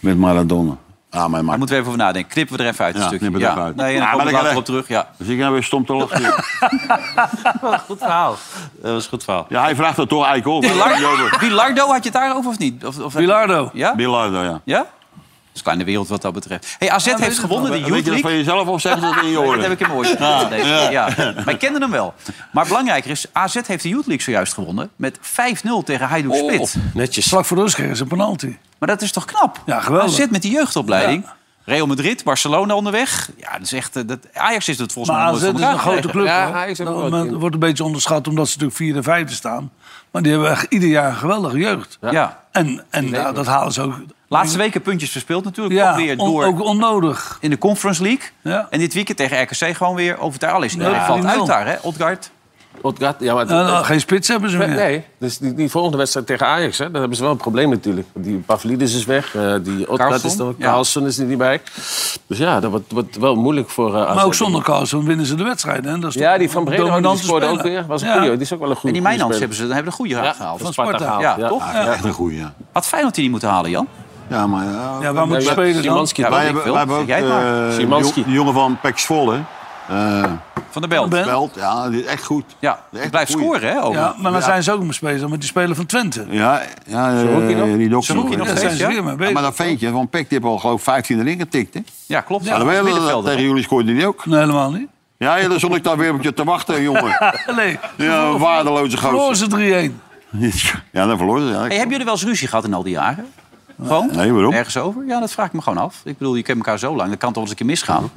Speaker 4: Met Maradona. Ah, mijn
Speaker 2: Daar moeten we even over nadenken. Knippen we er even uit een
Speaker 4: Ja,
Speaker 2: stukje.
Speaker 4: knippen we er even uit.
Speaker 2: Nee, en
Speaker 4: Ja,
Speaker 2: dan
Speaker 4: maar
Speaker 2: komen we
Speaker 4: dan
Speaker 2: later
Speaker 4: kan-
Speaker 2: op terug. Ja.
Speaker 4: Dus ik heb weer stom te lachen.
Speaker 5: Goed verhaal.
Speaker 2: Dat was een goed verhaal.
Speaker 4: Ja, hij vraagt dat toch eigenlijk ook.
Speaker 2: Bilardo, had je het daarover of niet? Of, of,
Speaker 3: Bilardo.
Speaker 2: Ja?
Speaker 4: Bilardo, ja.
Speaker 2: Ja? Dat is kleine wereld wat dat betreft. Hey, AZ heeft gewonnen, de
Speaker 4: Weet je
Speaker 2: Youth
Speaker 4: dat
Speaker 2: League.
Speaker 4: van jezelf of zeg je dat in je oren?
Speaker 2: Dat heb ik hem ooit.
Speaker 4: Ja,
Speaker 2: Ja, ja. Maar ik kende hem wel. Maar belangrijker is, AZ heeft de Youth League zojuist gewonnen... met 5-0 tegen Hajduk Split.
Speaker 5: netjes.
Speaker 3: Vlak voor de rust kregen ze een penalty.
Speaker 2: Maar dat is toch knap?
Speaker 3: Ja, geweldig.
Speaker 2: AZ met die jeugdopleiding. Real Madrid, Barcelona onderweg. Ja, dat is echt, eh, dat, Ajax is dat volgens
Speaker 3: Maar
Speaker 2: mij
Speaker 3: AZ
Speaker 2: nog
Speaker 3: is
Speaker 2: nooit
Speaker 3: een
Speaker 2: voor elkaar
Speaker 3: grote club.
Speaker 2: gekregen.
Speaker 3: hoor. Dat men- wordt een beetje onderschat omdat ze natuurlijk vierde en vijfde staan. Maar die hebben echt ieder jaar een geweldige jeugd.
Speaker 2: Ja.
Speaker 3: En, en nou, dat halen ze ook.
Speaker 2: Laatste weken puntjes verspeeld natuurlijk.
Speaker 3: Ja,
Speaker 2: ook weer
Speaker 3: on-
Speaker 2: door
Speaker 3: ook onnodig.
Speaker 2: in de Conference League.
Speaker 3: Ja.
Speaker 2: En dit weekend tegen RKC gewoon weer over daar. Alles iedereen
Speaker 3: Ja,
Speaker 2: valt
Speaker 3: die nul.
Speaker 2: uit daar, hè? Odgaard.
Speaker 5: Odgaard, ja, maar
Speaker 3: Nou, nou, geen spits hebben ze meer.
Speaker 5: Nee, dus die, die volgende wedstrijd tegen Ajax, hè, daar hebben ze wel een probleem natuurlijk. Die Pavlidis is weg, eh, die Odgaard
Speaker 2: Carlson,
Speaker 5: is er,
Speaker 2: ja.
Speaker 5: Carlson is er niet bij. Dus ja, dat wordt, wordt wel moeilijk voor eh, AZ.
Speaker 3: Maar ook zonder Carlsen winnen ze de wedstrijd. Hè? Dat is
Speaker 5: Ja,
Speaker 3: toch
Speaker 5: die van
Speaker 3: een
Speaker 5: Bredehoorn die
Speaker 3: dominante
Speaker 5: scoorde ook
Speaker 3: speler.
Speaker 5: weer. Was een
Speaker 3: Ja.
Speaker 5: goeie, die is ook wel een goede
Speaker 2: En die Mijnans
Speaker 5: speler.
Speaker 2: hebben ze hebben een goede
Speaker 5: Ja,
Speaker 2: gehaald.
Speaker 5: van Sparta
Speaker 2: Ja,
Speaker 5: gehaald, ja.
Speaker 2: toch?
Speaker 5: Ja.
Speaker 4: Ah, Echt een goeie, ja.
Speaker 2: Had Feyenoord die niet moeten halen, Jan?
Speaker 4: Ja, maar... eh, Ja,
Speaker 3: Ja, waar moet je spelen dan?
Speaker 5: Szymanski,
Speaker 4: wij
Speaker 5: weet ik
Speaker 4: hebben,
Speaker 5: veel.
Speaker 4: wij hebben
Speaker 5: Zeg
Speaker 4: ook
Speaker 5: jij het maar.
Speaker 4: eh,
Speaker 5: Szymanski.
Speaker 4: die jongen van Pek Zwolle. eh,
Speaker 2: Van de Belt.
Speaker 4: Belt, ja, die is echt goed.
Speaker 2: Ja,
Speaker 4: Echt
Speaker 2: die blijft
Speaker 4: een goeie.
Speaker 2: scoren, hè? ook.
Speaker 3: Ja, maar dan
Speaker 4: Ja.
Speaker 3: zijn ze ook mee bezig met die speler van Twente.
Speaker 4: Ja, ja eh,
Speaker 2: Saruki nog?
Speaker 4: die dokter.
Speaker 2: Saruki nog
Speaker 4: Ja,
Speaker 3: Daar
Speaker 2: steeds,
Speaker 3: zijn ze
Speaker 2: ja?
Speaker 3: weer mee
Speaker 4: Ja,
Speaker 3: bezig.
Speaker 4: maar dat ventje van Pek, die heeft al geloof ik 15 erin getikt, hè?
Speaker 2: Ja, klopt.
Speaker 4: Ja,
Speaker 2: Ja,
Speaker 4: dan
Speaker 2: dat is
Speaker 4: ben je-
Speaker 2: middenvelder.
Speaker 4: tegen jullie scoorde die ook.
Speaker 3: Nee, helemaal niet.
Speaker 4: Ja, ja, dan stond ik daar weer op je te wachten, jongen.
Speaker 3: Nee,
Speaker 4: Ja, een waardeloze
Speaker 3: verloren
Speaker 4: gozer.
Speaker 3: ze 3-1.
Speaker 4: Ja, dan verloor ze. Ja.
Speaker 2: Hey, hebben jullie wel eens ruzie gehad in al die jaren? Gewoon?
Speaker 4: Nee, waarom?
Speaker 2: Ergens over? Ja, dat vraag ik me gewoon af. Ik bedoel, je kent elkaar zo lang. Dat kan toch wel eens een keer misgaan?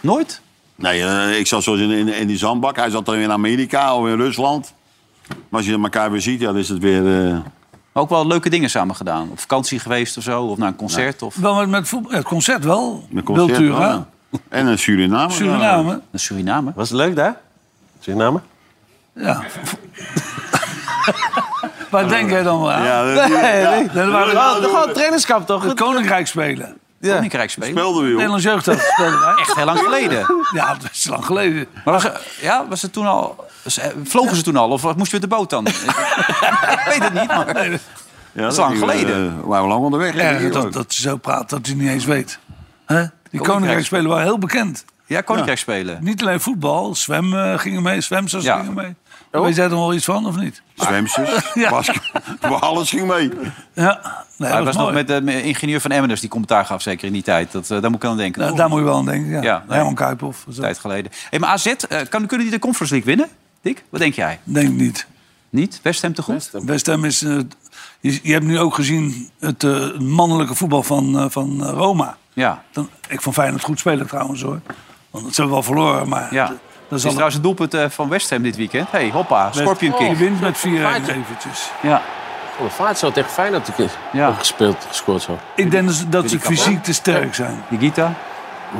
Speaker 2: Nooit?
Speaker 4: Nee, eh, ik zat zoals in, in, in die zandbak. Hij zat dan in Amerika of in Rusland. Maar als je elkaar weer ziet, ja, dan is het weer... eh,
Speaker 2: Maar ook wel leuke dingen samen gedaan. Op vakantie geweest of zo. Of naar een concert. Of
Speaker 3: Wel met, met voetbal, het concert wel.
Speaker 4: Een concert,
Speaker 3: Wiltura,
Speaker 4: ja. En een Suriname.
Speaker 3: Suriname.
Speaker 2: eh, naar Suriname.
Speaker 5: Was het leuk daar? Suriname?
Speaker 3: Ja. Waar denk jij dan wel aan?
Speaker 4: Ja, dat-
Speaker 3: nee, nee, dat waren
Speaker 5: Gewoon trainerschap toch?
Speaker 3: het Koninkrijk spelen.
Speaker 2: Koninkrijk spelen.
Speaker 3: Speelden we, joh. Nederlands jeugdhelft speelden wij.
Speaker 2: Echt heel lang geleden.
Speaker 3: Ja, dat is lang geleden.
Speaker 2: Maar dan- ja, was het toen al, was- eh, vlogen ze toen al of moesten we met de boot dan? ik weet het niet, maar dat is lang geleden.
Speaker 4: eh, We waren lang onderweg.
Speaker 3: Ja,
Speaker 4: hè?
Speaker 3: dat, dat ze zo praat dat hij niet eens weet. Hè? Die koninkrijksspelen waren heel bekend.
Speaker 2: Ja, koninkrijksspelen.
Speaker 3: Niet alleen voetbal, zwemmen gingen mee, zwemsters gingen mee.
Speaker 2: Oh.
Speaker 3: Weet jij er wel iets van of niet?
Speaker 4: Zwemsters,
Speaker 3: Ja.
Speaker 4: alles ging mee.
Speaker 3: Ja, nee,
Speaker 2: Maar
Speaker 3: dat
Speaker 2: het was
Speaker 3: was
Speaker 2: nog
Speaker 3: mooi.
Speaker 2: met de ingenieur van Emmeners die commentaar gaf, zeker in die tijd. Dat, eh, daar moet ik aan denken.
Speaker 3: Nou, daar moet je wel aan denken, ja.
Speaker 2: Ja, nee.
Speaker 3: Herman Kuiphoff.
Speaker 2: Een tijd geleden. Hey, maar AZ, eh, kan, kunnen die de Conference League winnen, Dick? Wat denk jij?
Speaker 3: Denk niet.
Speaker 2: Niet? West Ham te goed?
Speaker 3: West Ham is... eh, je, je hebt nu ook gezien het eh, mannelijke voetbal van, eh, van eh, Roma.
Speaker 2: Ja.
Speaker 3: Dan, ik vond Feyenoord goed spelen trouwens hoor. Want ze hebben wel verloren, maar...
Speaker 2: ja.
Speaker 3: Dat
Speaker 2: Dat
Speaker 3: is
Speaker 2: is
Speaker 3: al-
Speaker 2: trouwens het doelpunt eh, van West Ham dit weekend. hey, hoppa, Scorpion
Speaker 3: Oh, Je
Speaker 2: King.
Speaker 3: wint met 4-1 eventjes.
Speaker 2: Ja.
Speaker 5: Oh, de vaart zo tegen Feyenoord te kiezen.
Speaker 2: Ja.
Speaker 5: Gespeeld, gescoord zo.
Speaker 3: Ik denk dat ze, dat ze
Speaker 2: Jullie kapot.
Speaker 3: fysiek te sterk zijn.
Speaker 2: Die Gita.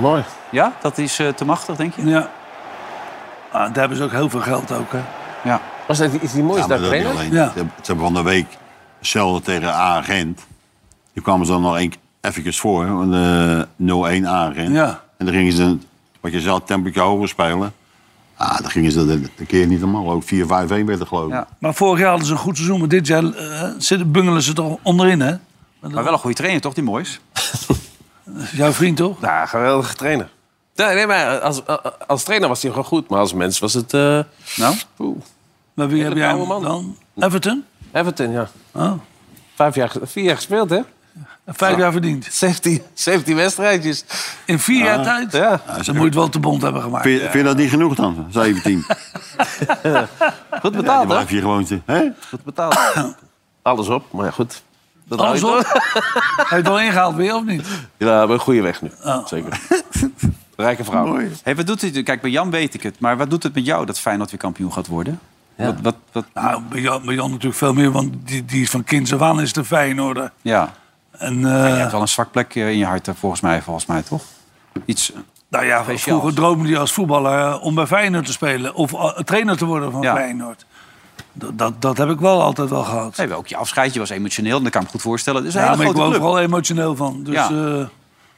Speaker 5: Mooi.
Speaker 2: Ja, dat is eh, te machtig, denk je?
Speaker 3: Ja. Ah, daar hebben ze ook heel veel geld ook, hè.
Speaker 2: Ja.
Speaker 5: Was dat iets die moois
Speaker 4: Ja, maar dat
Speaker 5: daar
Speaker 4: niet
Speaker 5: trainen?
Speaker 4: alleen. Ze hebben- ze hebben van de week hetzelfde tegen agent. Die kwamen ze dan nog één even voor, hè, want, eh 0-1 agent.
Speaker 3: Ja.
Speaker 4: En dan gingen ze, wat je zei, een tempootje hoger spelen. Ah, dan gingen ze de, de keer niet normaal. Ook 4-5-1 werd er geloof ik.
Speaker 3: Maar vorig jaar hadden ze een goed seizoen, maar dit jaar eh, zitten bungelen ze toch onderin, hè?
Speaker 2: Maar wel een goede trainer, toch, die Moois?
Speaker 3: Jouw vriend, toch?
Speaker 5: Ja, Nou, geweldige trainer. Ja, nee, maar als, als trainer was hij gewoon goed, maar als mens was het... eh
Speaker 2: nou?
Speaker 3: Maar wie heb jij
Speaker 5: oude
Speaker 3: hem
Speaker 5: man.
Speaker 3: dan? Everton?
Speaker 5: Everton, ja.
Speaker 3: Oh.
Speaker 5: Vijf jaar, ge- vier jaar gespeeld, hè?
Speaker 3: Vijf jaar verdiend.
Speaker 5: 17, 17 wedstrijdjes.
Speaker 3: In vier jaar
Speaker 5: Ah.
Speaker 3: tijd?
Speaker 5: Ja.
Speaker 3: Dan moet je het wel te bond hebben gemaakt.
Speaker 4: Vind, vind je dat niet genoeg dan, 17?
Speaker 5: Goed betaald,
Speaker 4: Dan
Speaker 5: hè?
Speaker 4: heb je gewoon te... Hè?
Speaker 5: Goed betaald. Alles op, maar ja, goed. Dat
Speaker 3: Alles
Speaker 5: hou je
Speaker 3: op? Heb je het al ingehaald weer of niet?
Speaker 5: door. Ja, we een goede weg nu.
Speaker 3: Oh.
Speaker 5: Zeker. Rijke vrouw.
Speaker 2: Hey, wat doet dit? Kijk, bij Jan weet ik het. Maar wat doet het met jou dat Feyenoord weer kampioen gaat worden? Wat, wat, wat,
Speaker 3: Nou, bij Jan, bij Jan natuurlijk veel meer, want die, die is van kinds af aan is de Feyenoorder.
Speaker 2: ja.
Speaker 3: En,
Speaker 2: Maar
Speaker 3: eh,
Speaker 2: je hebt wel een zwak plekje in je hart, eh, volgens mij, volgens mij toch? Iets eh,
Speaker 3: nou ja,
Speaker 2: speciaals.
Speaker 3: vroeger droomde hij als voetballer eh, om bij Feyenoord te spelen. Of eh, trainer te worden van
Speaker 2: Ja.
Speaker 3: Feyenoord. Dat, dat, dat heb ik wel altijd wel gehad.
Speaker 2: Nee, ook je afscheidje was emotioneel, en dat kan ik me goed voorstellen. Het is een
Speaker 3: ja,
Speaker 2: hele
Speaker 3: maar ik
Speaker 2: grote
Speaker 3: word
Speaker 2: club.
Speaker 3: vooral emotioneel van. Dus,
Speaker 2: Ja.
Speaker 3: eh,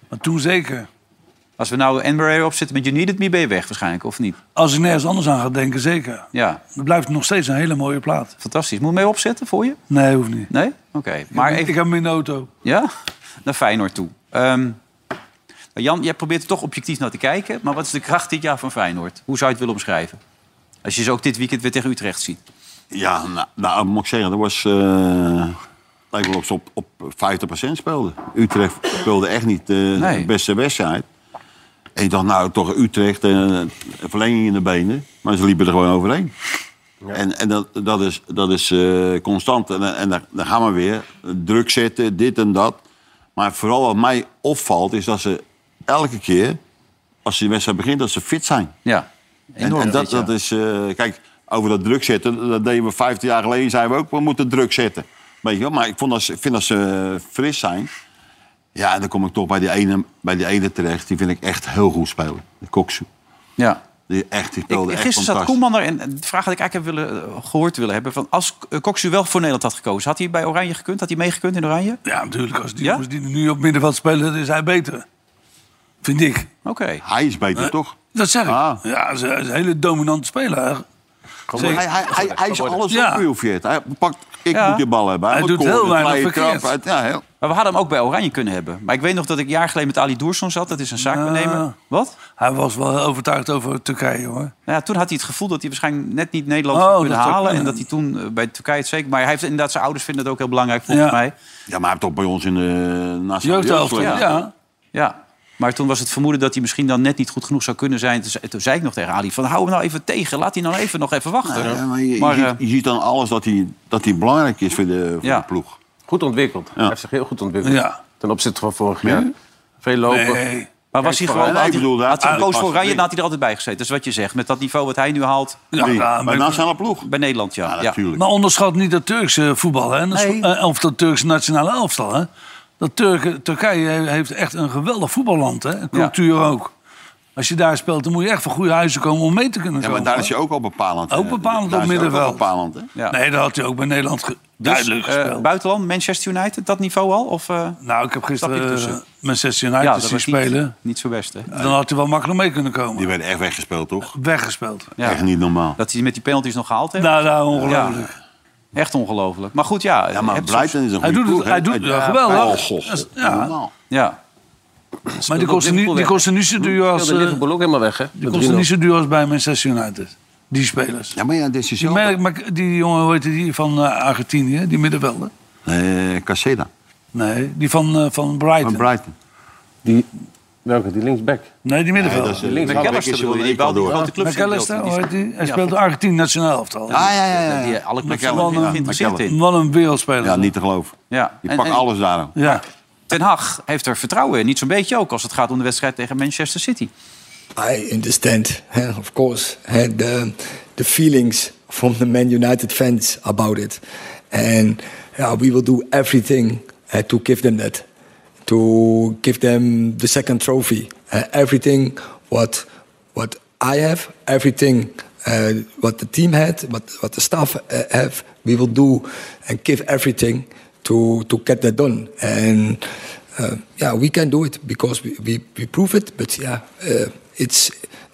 Speaker 3: maar toen zeker.
Speaker 2: Als we nou Enbury opzetten met You Need It Me, ben je weg waarschijnlijk, of niet?
Speaker 3: Als ik nergens anders aan ga denken, zeker.
Speaker 2: Ja,
Speaker 3: Dan blijft het nog steeds een hele mooie plaat.
Speaker 2: fantastisch. Moet je mee opzetten voor je?
Speaker 3: Nee, hoeft niet.
Speaker 2: Nee? Oké. Maar
Speaker 3: ik, heb-
Speaker 2: even,
Speaker 3: ik heb hem in de auto.
Speaker 2: ja? Naar Feyenoord toe. Ehm, Jan, jij probeert er toch objectief naar te kijken. Maar wat is de kracht dit jaar van Feyenoord? Hoe zou je het willen omschrijven? Als je ze ook dit weekend weer tegen Utrecht ziet.
Speaker 4: Ja, nou, nou moet ik zeggen, dat was... eh lijkt wel of ze op, op 50% speelden. Utrecht speelde echt niet eh, de beste wedstrijd. En ik dacht, nou, toch Utrecht, eh, een verlenging in de benen. Maar ze liepen er gewoon overheen. En, en dat, dat is, dat is eh, constant. En, en daar, daar gaan we weer. Druk zetten, dit en dat. Maar vooral wat mij opvalt, is dat ze elke keer... als die wedstrijd begint, dat ze fit zijn.
Speaker 2: Ja,
Speaker 4: En, en dat, dat is, eh, kijk, over dat druk zetten, dat deden we 15 jaar geleden, zeiden we ook, we moeten druk zetten. Weet je wel, maar ik vond dat ze, vind dat ze eh, fris zijn. Ja, en dan kom ik toch bij die ene, bij die ene terecht, die vind ik echt heel goed spelen. De Koksu.
Speaker 2: Ja.
Speaker 4: Die, echt, die speelde
Speaker 2: Ik,
Speaker 4: echt
Speaker 2: gisteren zat
Speaker 4: fantastisch.
Speaker 2: Koeman er en de vraag die ik eigenlijk heb willen, eh, gehoord willen hebben... Van als eh, Coxu wel voor Nederland had gekozen, had hij bij Oranje gekund? Had hij meegekund in Oranje?
Speaker 3: Ja, natuurlijk. Als die
Speaker 2: Ja?
Speaker 3: jongens die nu op middenveld spelen, is hij beter. Vind ik.
Speaker 2: Oké.
Speaker 4: Hij is beter, toch?
Speaker 3: Dat zeg ik. Ja, hij is, hij is een hele dominante speler.
Speaker 4: Hij, hij, hij, hij is alles ja. op, Wilfried. Hij pakt, ik
Speaker 2: Ja.
Speaker 4: moet die bal hebben. Hij,
Speaker 2: Hij
Speaker 4: moet
Speaker 2: doet heel
Speaker 4: koren, vrije
Speaker 2: weinig
Speaker 4: trap,
Speaker 2: verkeerd.
Speaker 4: uit- ja, heel-
Speaker 2: Maar we hadden hem ook bij Oranje kunnen hebben. Maar ik weet nog dat ik een jaar geleden met Ali Doerson zat. Dat is een zaakbenemer.
Speaker 3: Ja.
Speaker 2: Wat?
Speaker 3: Hij was wel overtuigd over Turkije, hoor.
Speaker 2: Nou ja, toen had hij het gevoel dat hij waarschijnlijk net niet Nederland
Speaker 3: Oh,
Speaker 2: zou
Speaker 3: dat
Speaker 2: kunnen
Speaker 3: zou
Speaker 2: halen. En
Speaker 3: kunnen.
Speaker 2: dat hij toen eh, bij Turkije het zeker... Maar hij heeft inderdaad zijn ouders vinden het ook heel belangrijk volgens
Speaker 3: Ja.
Speaker 2: mij.
Speaker 4: ja, maar hij heeft toch bij ons in de eh, nationale
Speaker 2: Jeugdhelft,
Speaker 4: jeugd gespeeld.
Speaker 2: ja. Ja. Maar toen was het vermoeden dat hij misschien dan net niet goed genoeg zou kunnen zijn. Toen zei- Toen zei ik nog tegen Ali van hou hem nou even tegen. Laat hij nou even nog even wachten.
Speaker 4: Ja, maar je, je
Speaker 2: Maar,
Speaker 4: ziet,
Speaker 2: eh,
Speaker 4: je ziet dan alles dat hij, dat hij belangrijk is voor de, voor
Speaker 2: Ja.
Speaker 4: de ploeg.
Speaker 5: Goed ontwikkeld. Hij heeft zich heel goed ontwikkeld.
Speaker 3: Ja.
Speaker 5: Ten opzichte van vorig jaar. Veel lopen.
Speaker 3: Nee.
Speaker 2: Maar was hij
Speaker 5: Kijk,
Speaker 2: gewoon...
Speaker 4: nee,
Speaker 2: had
Speaker 4: ik
Speaker 2: hij-
Speaker 4: bedoel, daar-
Speaker 2: had hij
Speaker 4: ah,
Speaker 2: gekozen voor
Speaker 4: past
Speaker 2: Oranje,
Speaker 4: het
Speaker 2: dan had hij er altijd bij gezeten. Dat is wat je zegt. Met dat niveau wat hij nu haalt
Speaker 3: Ja,
Speaker 4: Wie?
Speaker 3: ja,
Speaker 4: bij
Speaker 3: maar,
Speaker 4: de nationale nou ploeg.
Speaker 2: bij Nederland. Ja, ja.
Speaker 4: Natuurlijk.
Speaker 3: maar onderschat niet dat Turkse voetbal, hè. En dat is-
Speaker 2: Nee.
Speaker 3: eh, Of dat Turkse nationale elftal, hè. Dat Turken, Turkije he- heeft echt een geweldig voetballand, hè. En cultuur ook. Als je daar speelt, dan moet je echt van goede huizen komen om mee te kunnen
Speaker 4: Ja,
Speaker 3: komen.
Speaker 4: maar daar
Speaker 3: hè.
Speaker 4: is je ook al bepalend.
Speaker 3: Ook
Speaker 4: eh,
Speaker 3: bepalend
Speaker 4: daar
Speaker 3: op
Speaker 4: is hij ook al
Speaker 3: middenveld.
Speaker 4: bepalend, hè?
Speaker 2: Ja.
Speaker 3: Nee, dat had hij ook bij Nederland ge-
Speaker 2: Dus,
Speaker 3: Duidelijk
Speaker 2: eh,
Speaker 3: gespeeld.
Speaker 2: buitenland, Manchester United, dat niveau al? Of,
Speaker 3: nou, ik
Speaker 2: Stap
Speaker 3: heb
Speaker 2: je
Speaker 3: gisteren eh,
Speaker 2: ertussen?
Speaker 3: Manchester
Speaker 2: Ja,
Speaker 3: United
Speaker 2: dat
Speaker 3: zien
Speaker 2: was niet-
Speaker 3: spelen.
Speaker 2: Niet zo best, hè?
Speaker 3: Dan had hij wel makkelijk mee kunnen komen.
Speaker 4: Die werden echt weggespeeld, toch?
Speaker 3: Weggespeeld.
Speaker 2: Ja.
Speaker 4: Echt niet normaal.
Speaker 2: Dat hij met die penalties nog gehaald heeft.
Speaker 3: Nou, nou, ongelooflijk.
Speaker 2: Ja. Echt ongelooflijk. Maar goed, ja.
Speaker 4: Ja, maar Brighton is een
Speaker 3: Hij
Speaker 4: goede
Speaker 3: doet het-
Speaker 4: ploeg, hè?
Speaker 3: hij doet- ja, geweldig. Dat is- ja.
Speaker 4: Normaal.
Speaker 2: Ja.
Speaker 3: Maar die kosten, niet, die kosten niet zo duur als...
Speaker 5: Speelde
Speaker 3: eh,
Speaker 5: Liverpool ook helemaal weg, hè?
Speaker 3: die kosten niet zo duur als bij Manchester United. Die spelers.
Speaker 4: Ja, maar ja, dit is
Speaker 3: Die, merk, maar die jongen, hoe heet die, van eh, Argentinië, die middenvelder.
Speaker 4: Eh, Caseda.
Speaker 3: Nee, die van, eh, van Brighton.
Speaker 4: Van Brighton.
Speaker 3: Die,
Speaker 5: Welke? Die linksback?
Speaker 3: Nee, die middenvelder.
Speaker 4: Nee, dat is- Die linksback McAllister is bedoel je, die wel die grote clubs in
Speaker 3: McAllister,
Speaker 4: beeld. Die
Speaker 3: hoe heet die?
Speaker 4: Ja,
Speaker 3: Hij speelt Argentinië nationaal elftal.
Speaker 4: Ja, ja, ja, ja.
Speaker 2: Die alle clubs
Speaker 4: McAllister,
Speaker 2: wel
Speaker 4: ja,
Speaker 2: geïnteresseerd
Speaker 4: McAllister.
Speaker 2: in.
Speaker 3: Wat een wereldspeler.
Speaker 4: Ja, niet te geloven.
Speaker 2: Ja.
Speaker 4: Die
Speaker 2: En-
Speaker 4: pakt
Speaker 2: en-
Speaker 4: alles daarom.
Speaker 3: Ja.
Speaker 2: Ten Hag heeft er vertrouwen in. Niet zo'n beetje ook als het gaat om de wedstrijd tegen Manchester City.
Speaker 14: I understand, eh, of course, eh, the, the feelings from the Man United fans about it. And yeah, we will do everything eh, to give them that, to give them the second trophy. Eh, everything what, what I have, everything uh, what the team had, what, what the staff uh, have, we will do and give everything to, to get that done. And uh, yeah, we can do it because we, we, we prove it. But yeah, uh, it's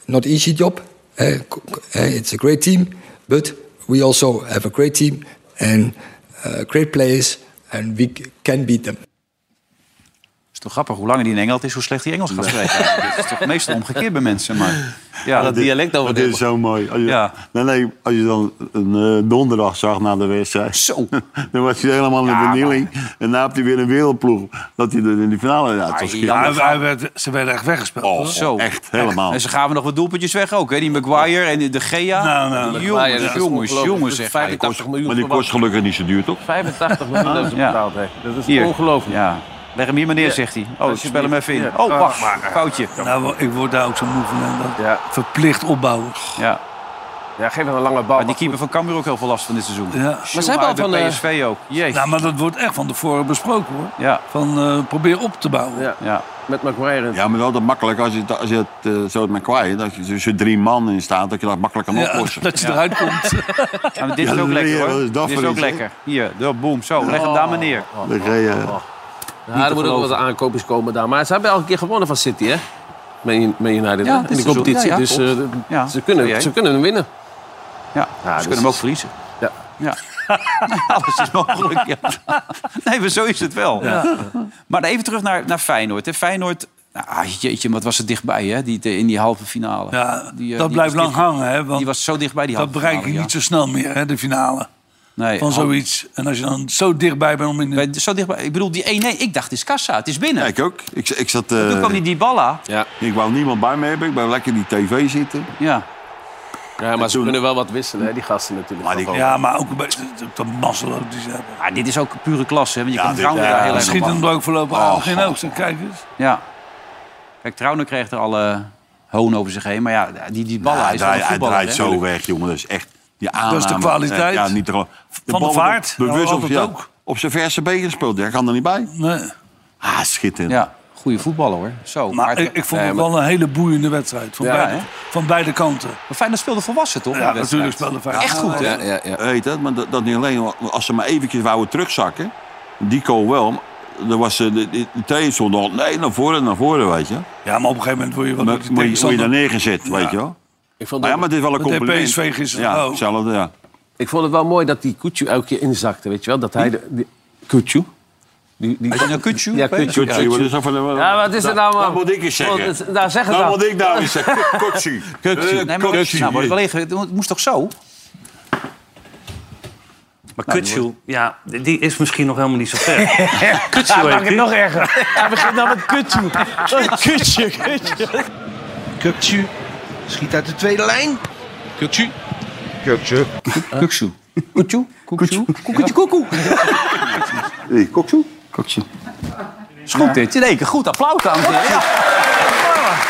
Speaker 14: not easy job. Uh, co- co- uh, it's a great team, but we also have a great team and uh, great players, and we c- can beat them.
Speaker 2: is toch grappig hoe langer die in Engeland is, hoe slecht die Engels gaat spreken. Het is toch meestal omgekeerd bij mensen. Maar ja,
Speaker 4: Maar
Speaker 2: dat
Speaker 4: dit-
Speaker 2: dialect
Speaker 4: maar
Speaker 2: over
Speaker 4: Dit is zo mooi. Als je,
Speaker 2: Ja.
Speaker 4: nee, nee, als je dan een eh, donderdag zag na de wedstrijd... dan was hij helemaal in
Speaker 2: Ja,
Speaker 4: vernieling. En daarna heb hij weer een wereldploeg. Dat hij er in die finale... Ja, Oh, het was
Speaker 3: Ja, hij-
Speaker 4: geweldig.
Speaker 3: hij werd, ze werden echt weggespeeld. hoor.
Speaker 2: Zo.
Speaker 4: Echt, helemaal.
Speaker 2: En ze gaven nog wat doelpuntjes weg ook, hè? Die Maguire en de Gea.
Speaker 3: Nou, nou,
Speaker 2: jongens,
Speaker 3: nou.
Speaker 5: Maguire, dat
Speaker 2: jongens,
Speaker 5: is
Speaker 2: jongens,
Speaker 5: ongelooflijk. Dat is
Speaker 2: zeg.
Speaker 5: 85 miljoen
Speaker 4: Maar die kost gelukkig niet zo duur, toch?
Speaker 5: 85 miljoen hebben ze
Speaker 2: Ja.
Speaker 5: betaald, hè? Dat is
Speaker 2: Hier.
Speaker 5: ongelooflijk.
Speaker 2: Ja. Leg hem hier maar neer,
Speaker 5: Ja.
Speaker 2: zegt hij. Oh, ik
Speaker 5: Alsjeblieft.
Speaker 2: spel hem even in.
Speaker 5: Ja.
Speaker 2: Oh, wacht,
Speaker 5: Ah, maar-
Speaker 2: foutje.
Speaker 3: Nou, ik word daar ook zo moe van. hè, dat Verplicht opbouwen.
Speaker 2: Ja.
Speaker 5: Ja, geef hem een lange bal.
Speaker 2: Maar die keeper van Cambuur ook heel veel last van dit seizoen.
Speaker 3: Ja. Maar
Speaker 5: ze hebben al
Speaker 2: uit bij
Speaker 5: van, eh,
Speaker 2: PSV ook. Jezus.
Speaker 3: Nou, maar dat wordt echt van tevoren besproken hoor.
Speaker 2: Ja.
Speaker 3: Van eh, probeer op te bouwen.
Speaker 5: Ja.
Speaker 2: Ja.
Speaker 5: Met McGuire.
Speaker 4: Ja, maar wel dat makkelijk als je, het- als je het eh, zo met kwijt... dat je tussen drie man in staat, dat je dat makkelijk kan
Speaker 3: Ja,
Speaker 4: oplossen.
Speaker 3: dat je eruit komt.
Speaker 2: Ja, maar dit is
Speaker 4: Ja,
Speaker 2: ook lekker,
Speaker 4: leer,
Speaker 2: hoor.
Speaker 4: wat is dat
Speaker 2: dit is
Speaker 4: voor
Speaker 2: ook
Speaker 4: iets, hè?
Speaker 2: lekker. Hier, de boom. Zo, leg hem daar maar neer.
Speaker 4: Dan ga je-
Speaker 5: Ja, er moeten ook wel wat aankopers komen daar. Maar ze hebben elke keer gewonnen van City, hè? Man Man United,
Speaker 2: Ja,
Speaker 5: hè?
Speaker 2: dit
Speaker 5: in de
Speaker 2: seizoen.
Speaker 5: competitie.
Speaker 2: Ja, ja,
Speaker 5: dus
Speaker 2: klopt.
Speaker 5: eh,
Speaker 2: Ja.
Speaker 5: ze, kunnen,
Speaker 2: Serieus.
Speaker 5: ze kunnen hem winnen.
Speaker 2: Ja, ze kunnen hem ook verliezen.
Speaker 5: Ja.
Speaker 2: Ja. Alles is mogelijk. Ja. Nee, maar zo is het wel. Maar even terug naar, naar Feyenoord. Hè. Feyenoord, ah, jeetje, wat was het dichtbij hè? Die, de- in die halve finale.
Speaker 3: Ja,
Speaker 2: Die, eh,
Speaker 3: dat
Speaker 2: die
Speaker 3: blijft
Speaker 2: was
Speaker 3: lang
Speaker 2: dicht-
Speaker 3: hangen. Hè, want
Speaker 2: Die was zo dichtbij, die
Speaker 3: dat
Speaker 2: halve
Speaker 3: bereik je
Speaker 2: finale,
Speaker 3: niet
Speaker 2: ja.
Speaker 3: zo snel meer, hè, de finale.
Speaker 2: Nee,
Speaker 3: Van
Speaker 2: halve-
Speaker 3: zoiets. En als je dan zo dichtbij bent om in de...
Speaker 2: bij- Zo dichtbij. Ik bedoel, die 1-1, ik dacht, het is kassa, het is binnen.
Speaker 4: Ja, ik ook. Ik, ik zat... eh,
Speaker 2: Toen kwam die Dybala.
Speaker 5: Ja,
Speaker 4: Ik wou niemand bij me hebben. Ik wou lekker die tv zitten.
Speaker 2: Ja.
Speaker 5: ja maar ze kunnen wel wat wisselen, hè? Die gasten natuurlijk.
Speaker 4: Maar die-
Speaker 5: Gewoon.
Speaker 3: Ja, maar ook een beetje de, de mazzel die ze hebben.
Speaker 2: Ah, dit is ook pure klasse, hè, want je
Speaker 4: Ja,
Speaker 2: kan
Speaker 4: dit-
Speaker 2: Trauner
Speaker 4: ja,
Speaker 2: daar heel
Speaker 3: Ja,
Speaker 2: erg
Speaker 3: schiet
Speaker 2: op af.
Speaker 3: hem er ook voorlopig
Speaker 4: Oh,
Speaker 3: aan. Geen oogst. Kijk eens.
Speaker 2: Ja. Kijk, Trauner kreeg er alle hoon over zich heen. Maar ja, die, die Dybala
Speaker 4: Ja, hij,
Speaker 2: is wel een
Speaker 4: draait, hij
Speaker 2: voetballer.
Speaker 4: draait
Speaker 2: hè.
Speaker 4: zo weg, jongen. Dat is echt die aanname.
Speaker 3: is de kwaliteit.
Speaker 4: Ja, niet te geloven.
Speaker 3: Van de
Speaker 4: bal
Speaker 3: Vaart,
Speaker 4: wordt Bewust
Speaker 3: nou,
Speaker 4: op,
Speaker 3: altijd
Speaker 4: ja,
Speaker 3: ook.
Speaker 4: op zijn verse been gespeeld. Hij kan er niet bij.
Speaker 3: Nee.
Speaker 4: Ah, schitterend.
Speaker 2: Ja, goede voetballer hoor. Zo, eh,
Speaker 3: Maar ik, ik vond het wel een hele boeiende wedstrijd. Van,
Speaker 2: Ja,
Speaker 3: beide,
Speaker 2: hè?
Speaker 3: van beide kanten.
Speaker 2: Maar Feyenoord speelde volwassen, toch?
Speaker 3: Ja,
Speaker 2: in de wedstrijd?
Speaker 3: natuurlijk speelde Feyenoord.
Speaker 2: Echt goed, hè?
Speaker 5: Ja, ja, ja.
Speaker 4: Weet dat, maar dat, dat niet alleen. Als ze maar eventjes wouden terugzakken. Die goal wel. maar Er was, eh, de, de, de trainer stond al, nee, naar voren, naar voren, weet je.
Speaker 3: Ja, maar op een gegeven moment word je wel...
Speaker 4: Maar,
Speaker 3: door die
Speaker 4: moet je- moet je daar
Speaker 3: tegenstander-
Speaker 4: neergezet, weet je wel.
Speaker 5: Ik, vond
Speaker 4: Maar
Speaker 5: het,
Speaker 4: ja, maar het is wel een
Speaker 3: Dat deed
Speaker 4: compliment.
Speaker 3: PSV gisteren
Speaker 4: Ja,
Speaker 3: ook.
Speaker 4: hetzelfde, ja.
Speaker 5: ik vond het wel mooi dat die Kutju elke keer inzakte, weet je wel? Dat hij... De, die, Kutju? Die, die,
Speaker 2: Nou, Kutsu.
Speaker 5: Ja, Kutsu.
Speaker 4: Kutsu, wat is dat voor een-
Speaker 5: Ja, wat is er nou, man?
Speaker 4: Dat moet ik eens zeggen.
Speaker 5: Wat is- nou, zeg het
Speaker 4: Nou
Speaker 5: dan.
Speaker 4: moet ik daar eens zeggen. Kutsu.
Speaker 2: Nee, maar
Speaker 4: Eh, Kutsu.
Speaker 2: Nou, maar collega, het moest toch zo?
Speaker 15: Maar Kutsu, Nou, ja, die is misschien nog helemaal niet zo ver. Kutsu
Speaker 11: Ja, maak
Speaker 15: heet
Speaker 11: het
Speaker 15: die.
Speaker 11: nog erger. Hij begint nou met kutje. Kutje, kutje.
Speaker 10: Kukcu schiet uit de tweede lijn. Kukcu. Kukcu.
Speaker 2: Kuksu. Kutsu. Kuksu. Koeketje koekoe.
Speaker 4: Koksu?
Speaker 2: Kutsu. Is goed dit. In één keer goed. Applaus, dames en heren. Ja.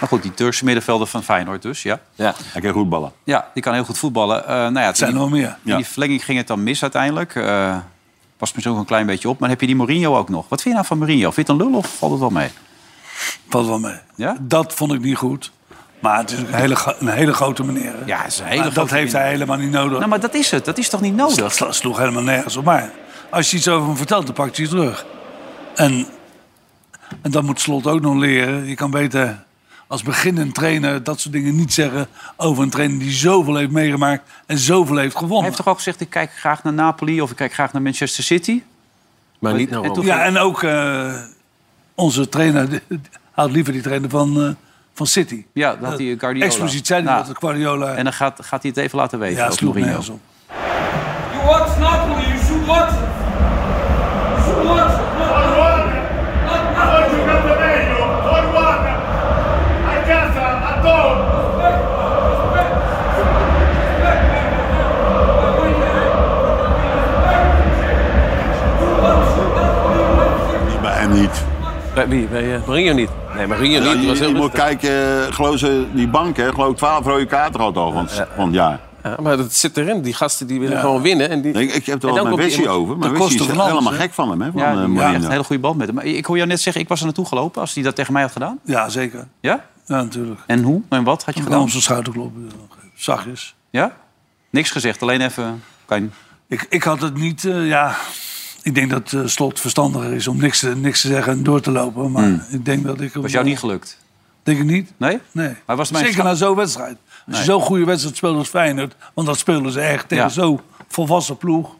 Speaker 2: Maar goed, die Turkse middenvelder van Feyenoord dus, ja.
Speaker 5: Ja.
Speaker 4: Hij kan goed ballen.
Speaker 2: Ja, die kan heel goed voetballen. Eh, nou ja, het
Speaker 3: zijn er wel meer.
Speaker 2: In die
Speaker 4: Ja.
Speaker 2: verlenging ging het dan mis uiteindelijk. Eh past misschien ook een klein beetje op. Maar dan heb je die Mourinho ook nog. Wat vind je nou van Mourinho? Vind je het een lul of valt het wel mee?
Speaker 3: Valt wel mee.
Speaker 2: Ja?
Speaker 3: Dat vond ik niet goed. Maar het is een hele, gro- een hele grote meneer. hè.
Speaker 2: Ja, het is een hele
Speaker 3: Maar
Speaker 2: grote
Speaker 3: dat heeft hij helemaal niet nodig.
Speaker 2: Nou, maar dat is het. Dat is toch niet nodig?
Speaker 3: Oh, Dat sloeg helemaal nergens op. Maar als je iets over hem vertelt, dan pakt hij het terug. En, en dat moet Slot ook nog leren. Je kan beter als beginnend trainer dat soort dingen niet zeggen... over een trainer die zoveel heeft meegemaakt en zoveel heeft gewonnen.
Speaker 2: Hij heeft toch ook gezegd, ik kijk graag naar Napoli of ik kijk graag naar Manchester City?
Speaker 5: Maar niet naar
Speaker 2: En
Speaker 5: Rome.
Speaker 2: toch-
Speaker 3: Ja, en ook eh, onze trainer die- die houdt liever die trainer van, eh, van City.
Speaker 2: Ja, dat had hij eh, Guardiola.
Speaker 3: Expliciet zei hij
Speaker 2: Nou,
Speaker 3: dat het Guardiola...
Speaker 2: En dan gaat, gaat hij het even laten weten.
Speaker 3: Ja,
Speaker 2: ook
Speaker 3: sloeg
Speaker 2: Mourinho.
Speaker 3: nergens op.
Speaker 6: You want Napoli, you should want it. You should want it. Not Napoli. Not Napoli.
Speaker 4: Niet bij hem niet.
Speaker 5: Bij wie? Bij eh, Mourinho niet. Nee, Mourinho
Speaker 4: Ja,
Speaker 5: niet. Het
Speaker 4: je,
Speaker 5: was heel
Speaker 4: je moet
Speaker 5: rustig.
Speaker 4: kijken, eh, geloof ze, die bank, hè, geloof ik, 12 rode kaarten gehad al van, het- van het jaar.
Speaker 5: Ja, maar dat zit erin. Die gasten die willen gewoon winnen. En die...
Speaker 4: Ik, ik heb er wel
Speaker 5: En ook
Speaker 4: mijn
Speaker 5: op die
Speaker 4: Wessie
Speaker 5: emotie-
Speaker 4: over, maar
Speaker 5: ten
Speaker 4: Wessie is
Speaker 5: koste van alles,
Speaker 4: helemaal
Speaker 5: hè?
Speaker 4: gek van hem, hè, van
Speaker 2: Ja,
Speaker 4: eh,
Speaker 2: die- ja,
Speaker 4: Mourinho.
Speaker 2: echt een hele goede band met hem. Maar ik hoor jou net zeggen, ik was er naartoe gelopen als hij dat tegen mij had gedaan.
Speaker 3: Ja, zeker.
Speaker 2: Ja?
Speaker 3: Ja, natuurlijk.
Speaker 2: En hoe en wat had je
Speaker 3: Ik
Speaker 2: gedaan?
Speaker 3: kwam op zijn schouder kloppen. Zachtjes.
Speaker 2: Ja? Niks gezegd, alleen even... Kan...
Speaker 3: Ik, ik had het niet, eh, ja... Ik denk dat eh, Slot verstandiger is om niks, te- niks te zeggen en door te lopen. Maar
Speaker 2: Hmm.
Speaker 3: ik denk dat ik... hem- eh,
Speaker 2: Was jou niet gelukt?
Speaker 3: Denk ik niet.
Speaker 2: Nee?
Speaker 3: Nee.
Speaker 2: Maar was mijn
Speaker 3: Zeker na zo'n wedstrijd. Als
Speaker 2: Nee.
Speaker 3: je zo'n goede wedstrijd speelt als Feyenoord... want dat spelen ze echt tegen
Speaker 2: Ja.
Speaker 3: zo'n volwassen ploeg...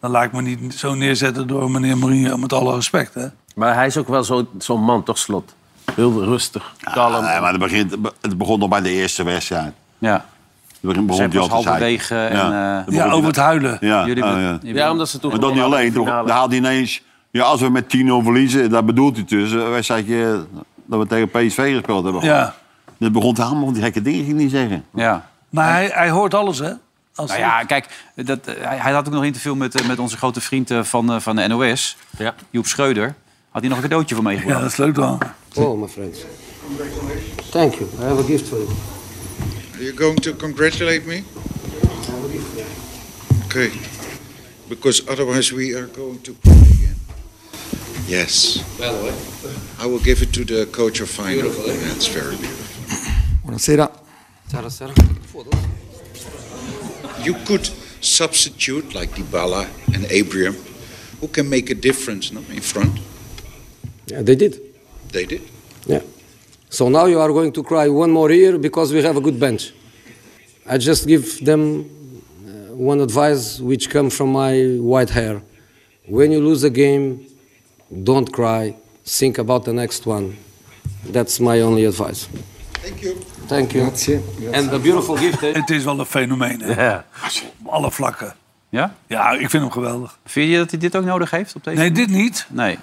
Speaker 3: dan laat ik me niet zo neerzetten door meneer Mourinho... met alle respect, hè.
Speaker 5: Maar hij is ook wel zo- zo'n man, toch, Slot? Heel rustig, kalm.
Speaker 4: Nee, Ah, maar het, begint, het begon al bij de eerste wedstrijd.
Speaker 2: Ja.
Speaker 4: Het begin- begon
Speaker 2: Zij
Speaker 4: hij al
Speaker 2: was
Speaker 4: te zeiken.
Speaker 2: halverwege en, eh,
Speaker 4: dan
Speaker 2: Ja,
Speaker 4: begon
Speaker 3: over
Speaker 4: hij-
Speaker 3: het huilen.
Speaker 4: Ja,
Speaker 2: Jullie
Speaker 4: oh,
Speaker 2: be-
Speaker 4: ja.
Speaker 5: Ja, omdat ze toen
Speaker 4: Maar dan niet alleen, toch, dan haalt hij ineens... Ja, als we met 10-0 verliezen, daar bedoelt hij dus. Een wedstrijdje dat we tegen PSV gespeeld hebben.
Speaker 3: Ja.
Speaker 4: Dat begon hij allemaal die gekke dingen ging niet zeggen.
Speaker 2: Ja.
Speaker 3: Maar hij, hij hoort alles, hè? Als
Speaker 2: Nou ja, kijk, dat, eh, hij, hij had ook nog een interview met, eh, met onze grote vriend eh, van, eh, van de NOS, Joep Schreuder. Had hij nog een cadeautje voor meegebracht?
Speaker 3: Ja, dat is leuk dan.
Speaker 16: Oh, my friends. Thank you. I have a gift for you.
Speaker 17: Are you going to congratulate me? Okay. Because otherwise we are going to cry again. Yes. Well, I will give it to the coach of final. Beautiful. That's very beautiful.
Speaker 14: Buonasera.
Speaker 16: Sarah, Sarah.
Speaker 17: You could substitute like Dybala and Abraham, who can make a difference no, in front.
Speaker 16: Yeah, they did.
Speaker 17: They did.
Speaker 16: So now you are going to cry one more year because we have a good bench. I just give them uh, one advice which come from my white hair. When you lose a game, don't cry. Think about the next one. That's my only advice. Thank you. Thank you. And the beautiful gift. eh?
Speaker 3: Het is wel een fenomeen, hè?
Speaker 2: Ja.
Speaker 3: Op alle vlakken.
Speaker 2: Ja?
Speaker 3: Ja, ik vind hem geweldig.
Speaker 2: Vind je dat hij dit ook nodig heeft op deze
Speaker 3: Nee, dit niet.
Speaker 2: Nee.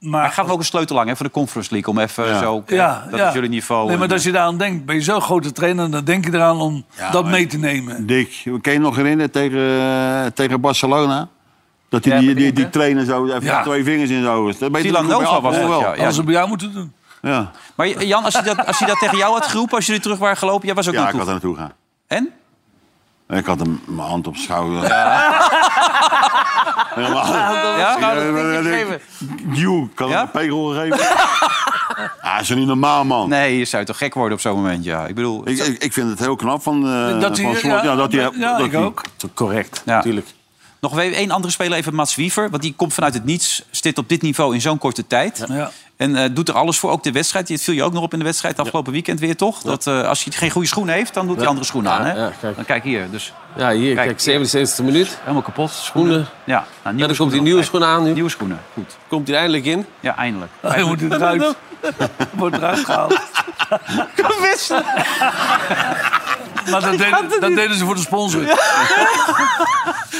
Speaker 3: Maar
Speaker 2: hij gaf ook een sleutel aan hè, voor de Conference League. Om even zo... eh, dat is jullie niveau.
Speaker 3: Nee, maar
Speaker 2: en- eh,
Speaker 3: als je daaraan denkt, ben je zo'n grote trainer... dan denk je eraan om dat mee te nemen.
Speaker 4: Dick, kan je nog herinneren tegen, eh, tegen Barcelona? Dat hij
Speaker 3: Ja,
Speaker 4: die,
Speaker 3: met
Speaker 4: die,
Speaker 3: Inter.
Speaker 4: die trainer zo even
Speaker 3: Ja.
Speaker 4: twee vingers in zijn ogen. Dat ben je
Speaker 2: Villanova
Speaker 4: natuurlijk bij
Speaker 2: was
Speaker 4: Apeldoorn
Speaker 2: dat, ja.
Speaker 3: Hadden ze bij jou moeten doen.
Speaker 4: Ja,
Speaker 2: Maar Jan, als je, dat, als je dat tegen jou had geroepen, als jullie terug waren gelopen... Jij was ook
Speaker 4: ja ik
Speaker 2: naartoe.
Speaker 4: had er naartoe gaan.
Speaker 2: En?
Speaker 4: Ik had hem mijn hand op zijn schouder.
Speaker 2: Ja?
Speaker 4: Ja, dat denk ik. Joe, kan hem een pegel geven? ah, is niet normaal, man.
Speaker 2: Nee, je zou toch gek worden op zo'n moment, ja. Ik bedoel...
Speaker 4: Ik, ik, ik vind het heel knap van, eh
Speaker 2: Dat hij-
Speaker 4: van Slot. Ja,
Speaker 2: ja,
Speaker 4: dat hij,
Speaker 2: ja,
Speaker 4: dat
Speaker 2: ik
Speaker 4: hij-
Speaker 2: ook.
Speaker 5: Correct, natuurlijk.
Speaker 2: Nog wel één andere speler, even Mats Wiever. Want die komt vanuit het niets, zit op dit niveau in zo'n korte tijd.
Speaker 3: Ja.
Speaker 2: En eh, doet er alles voor, ook de wedstrijd. Het viel je ook nog op in de wedstrijd afgelopen weekend weer, toch? Dat eh, als hij geen goede schoen heeft, dan doet hij andere schoenen aan. Hè? Dan kijk hier. Dus,
Speaker 5: Ja, hier, kijk, 77e minuut.
Speaker 2: Helemaal kapot.
Speaker 5: Schoenen.
Speaker 2: Ja, nou,
Speaker 5: Ja, dan komt die nieuwe schoenen aan nu.
Speaker 2: Nieuwe schoenen, goed.
Speaker 5: Komt hij eindelijk in?
Speaker 2: Ja, eindelijk.
Speaker 3: Hij moet eruit. Wordt eruit gehaald. Maar dat, deden, dat deden ze voor de sponsor.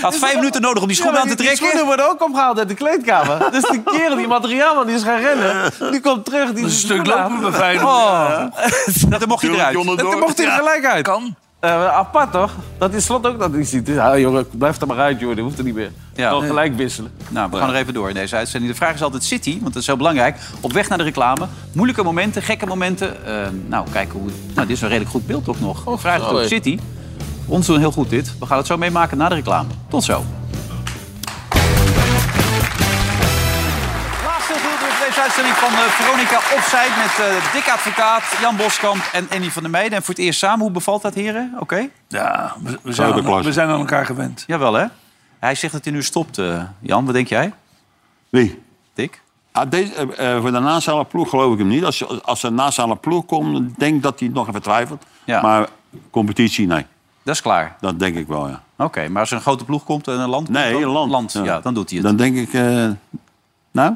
Speaker 2: Had vijf minuten nodig om die schoenen aan te
Speaker 5: Die
Speaker 2: trekken.
Speaker 5: schoenen worden ook opgehaald uit de kleedkamer. dus die kerel, die materiaalman, die is gaan rennen. Die komt terug. Die
Speaker 3: Dat is een stuk lopen bij Feyenoord.
Speaker 5: Oh,
Speaker 2: Dat mocht hij eruit.
Speaker 5: dat dan mocht hij er gelijk uit.
Speaker 3: Kan.
Speaker 5: Eh, apart toch? Dat is slot ook dat niet ziet. Ja, jongen, blijf er maar uit, joh. Dat hoeft er niet meer.
Speaker 2: Ja.
Speaker 5: Gewoon gelijk wisselen.
Speaker 2: Nou, we gaan er even door in deze uitzending. De vraag is altijd City, want dat is heel belangrijk. Op weg naar de reclame. Moeilijke momenten, gekke momenten. Eh, nou, kijken hoe... Nou, dit is een redelijk goed beeld toch nog. De vraag is
Speaker 5: zo,
Speaker 2: toch
Speaker 5: hé.
Speaker 2: City. Ons doen heel goed dit. We gaan het zo meemaken na de reclame. Tot zo. Laatste doelpunt van deze uitzending van eh, Veronica Opzij met eh Dick Advocaat, Jan Boskamp en Annie van der Meijden. En voor het eerst samen, hoe bevalt dat, heren? Oké?
Speaker 3: Ja, we, we zijn, aan, we zijn aan elkaar gewend.
Speaker 2: Jawel, hè? Hij zegt dat hij nu stopt, eh, Jan. Wat denk jij?
Speaker 4: Wie?
Speaker 2: Dick?
Speaker 4: Ah, deze, eh, eh, voor de nasale ploeg geloof ik hem niet. Als, je- als er nasale ploeg komt, denk ik dat hij het nog even twijfelt.
Speaker 2: Ja.
Speaker 4: Maar competitie, nee.
Speaker 2: Dat is klaar?
Speaker 4: Dat denk ik wel, ja.
Speaker 2: Oké, maar als er een grote ploeg komt en een land komt,
Speaker 4: Nee,
Speaker 2: dan-
Speaker 4: een land.
Speaker 2: ja. dan doet hij het.
Speaker 4: Dan denk ik... eh, nou?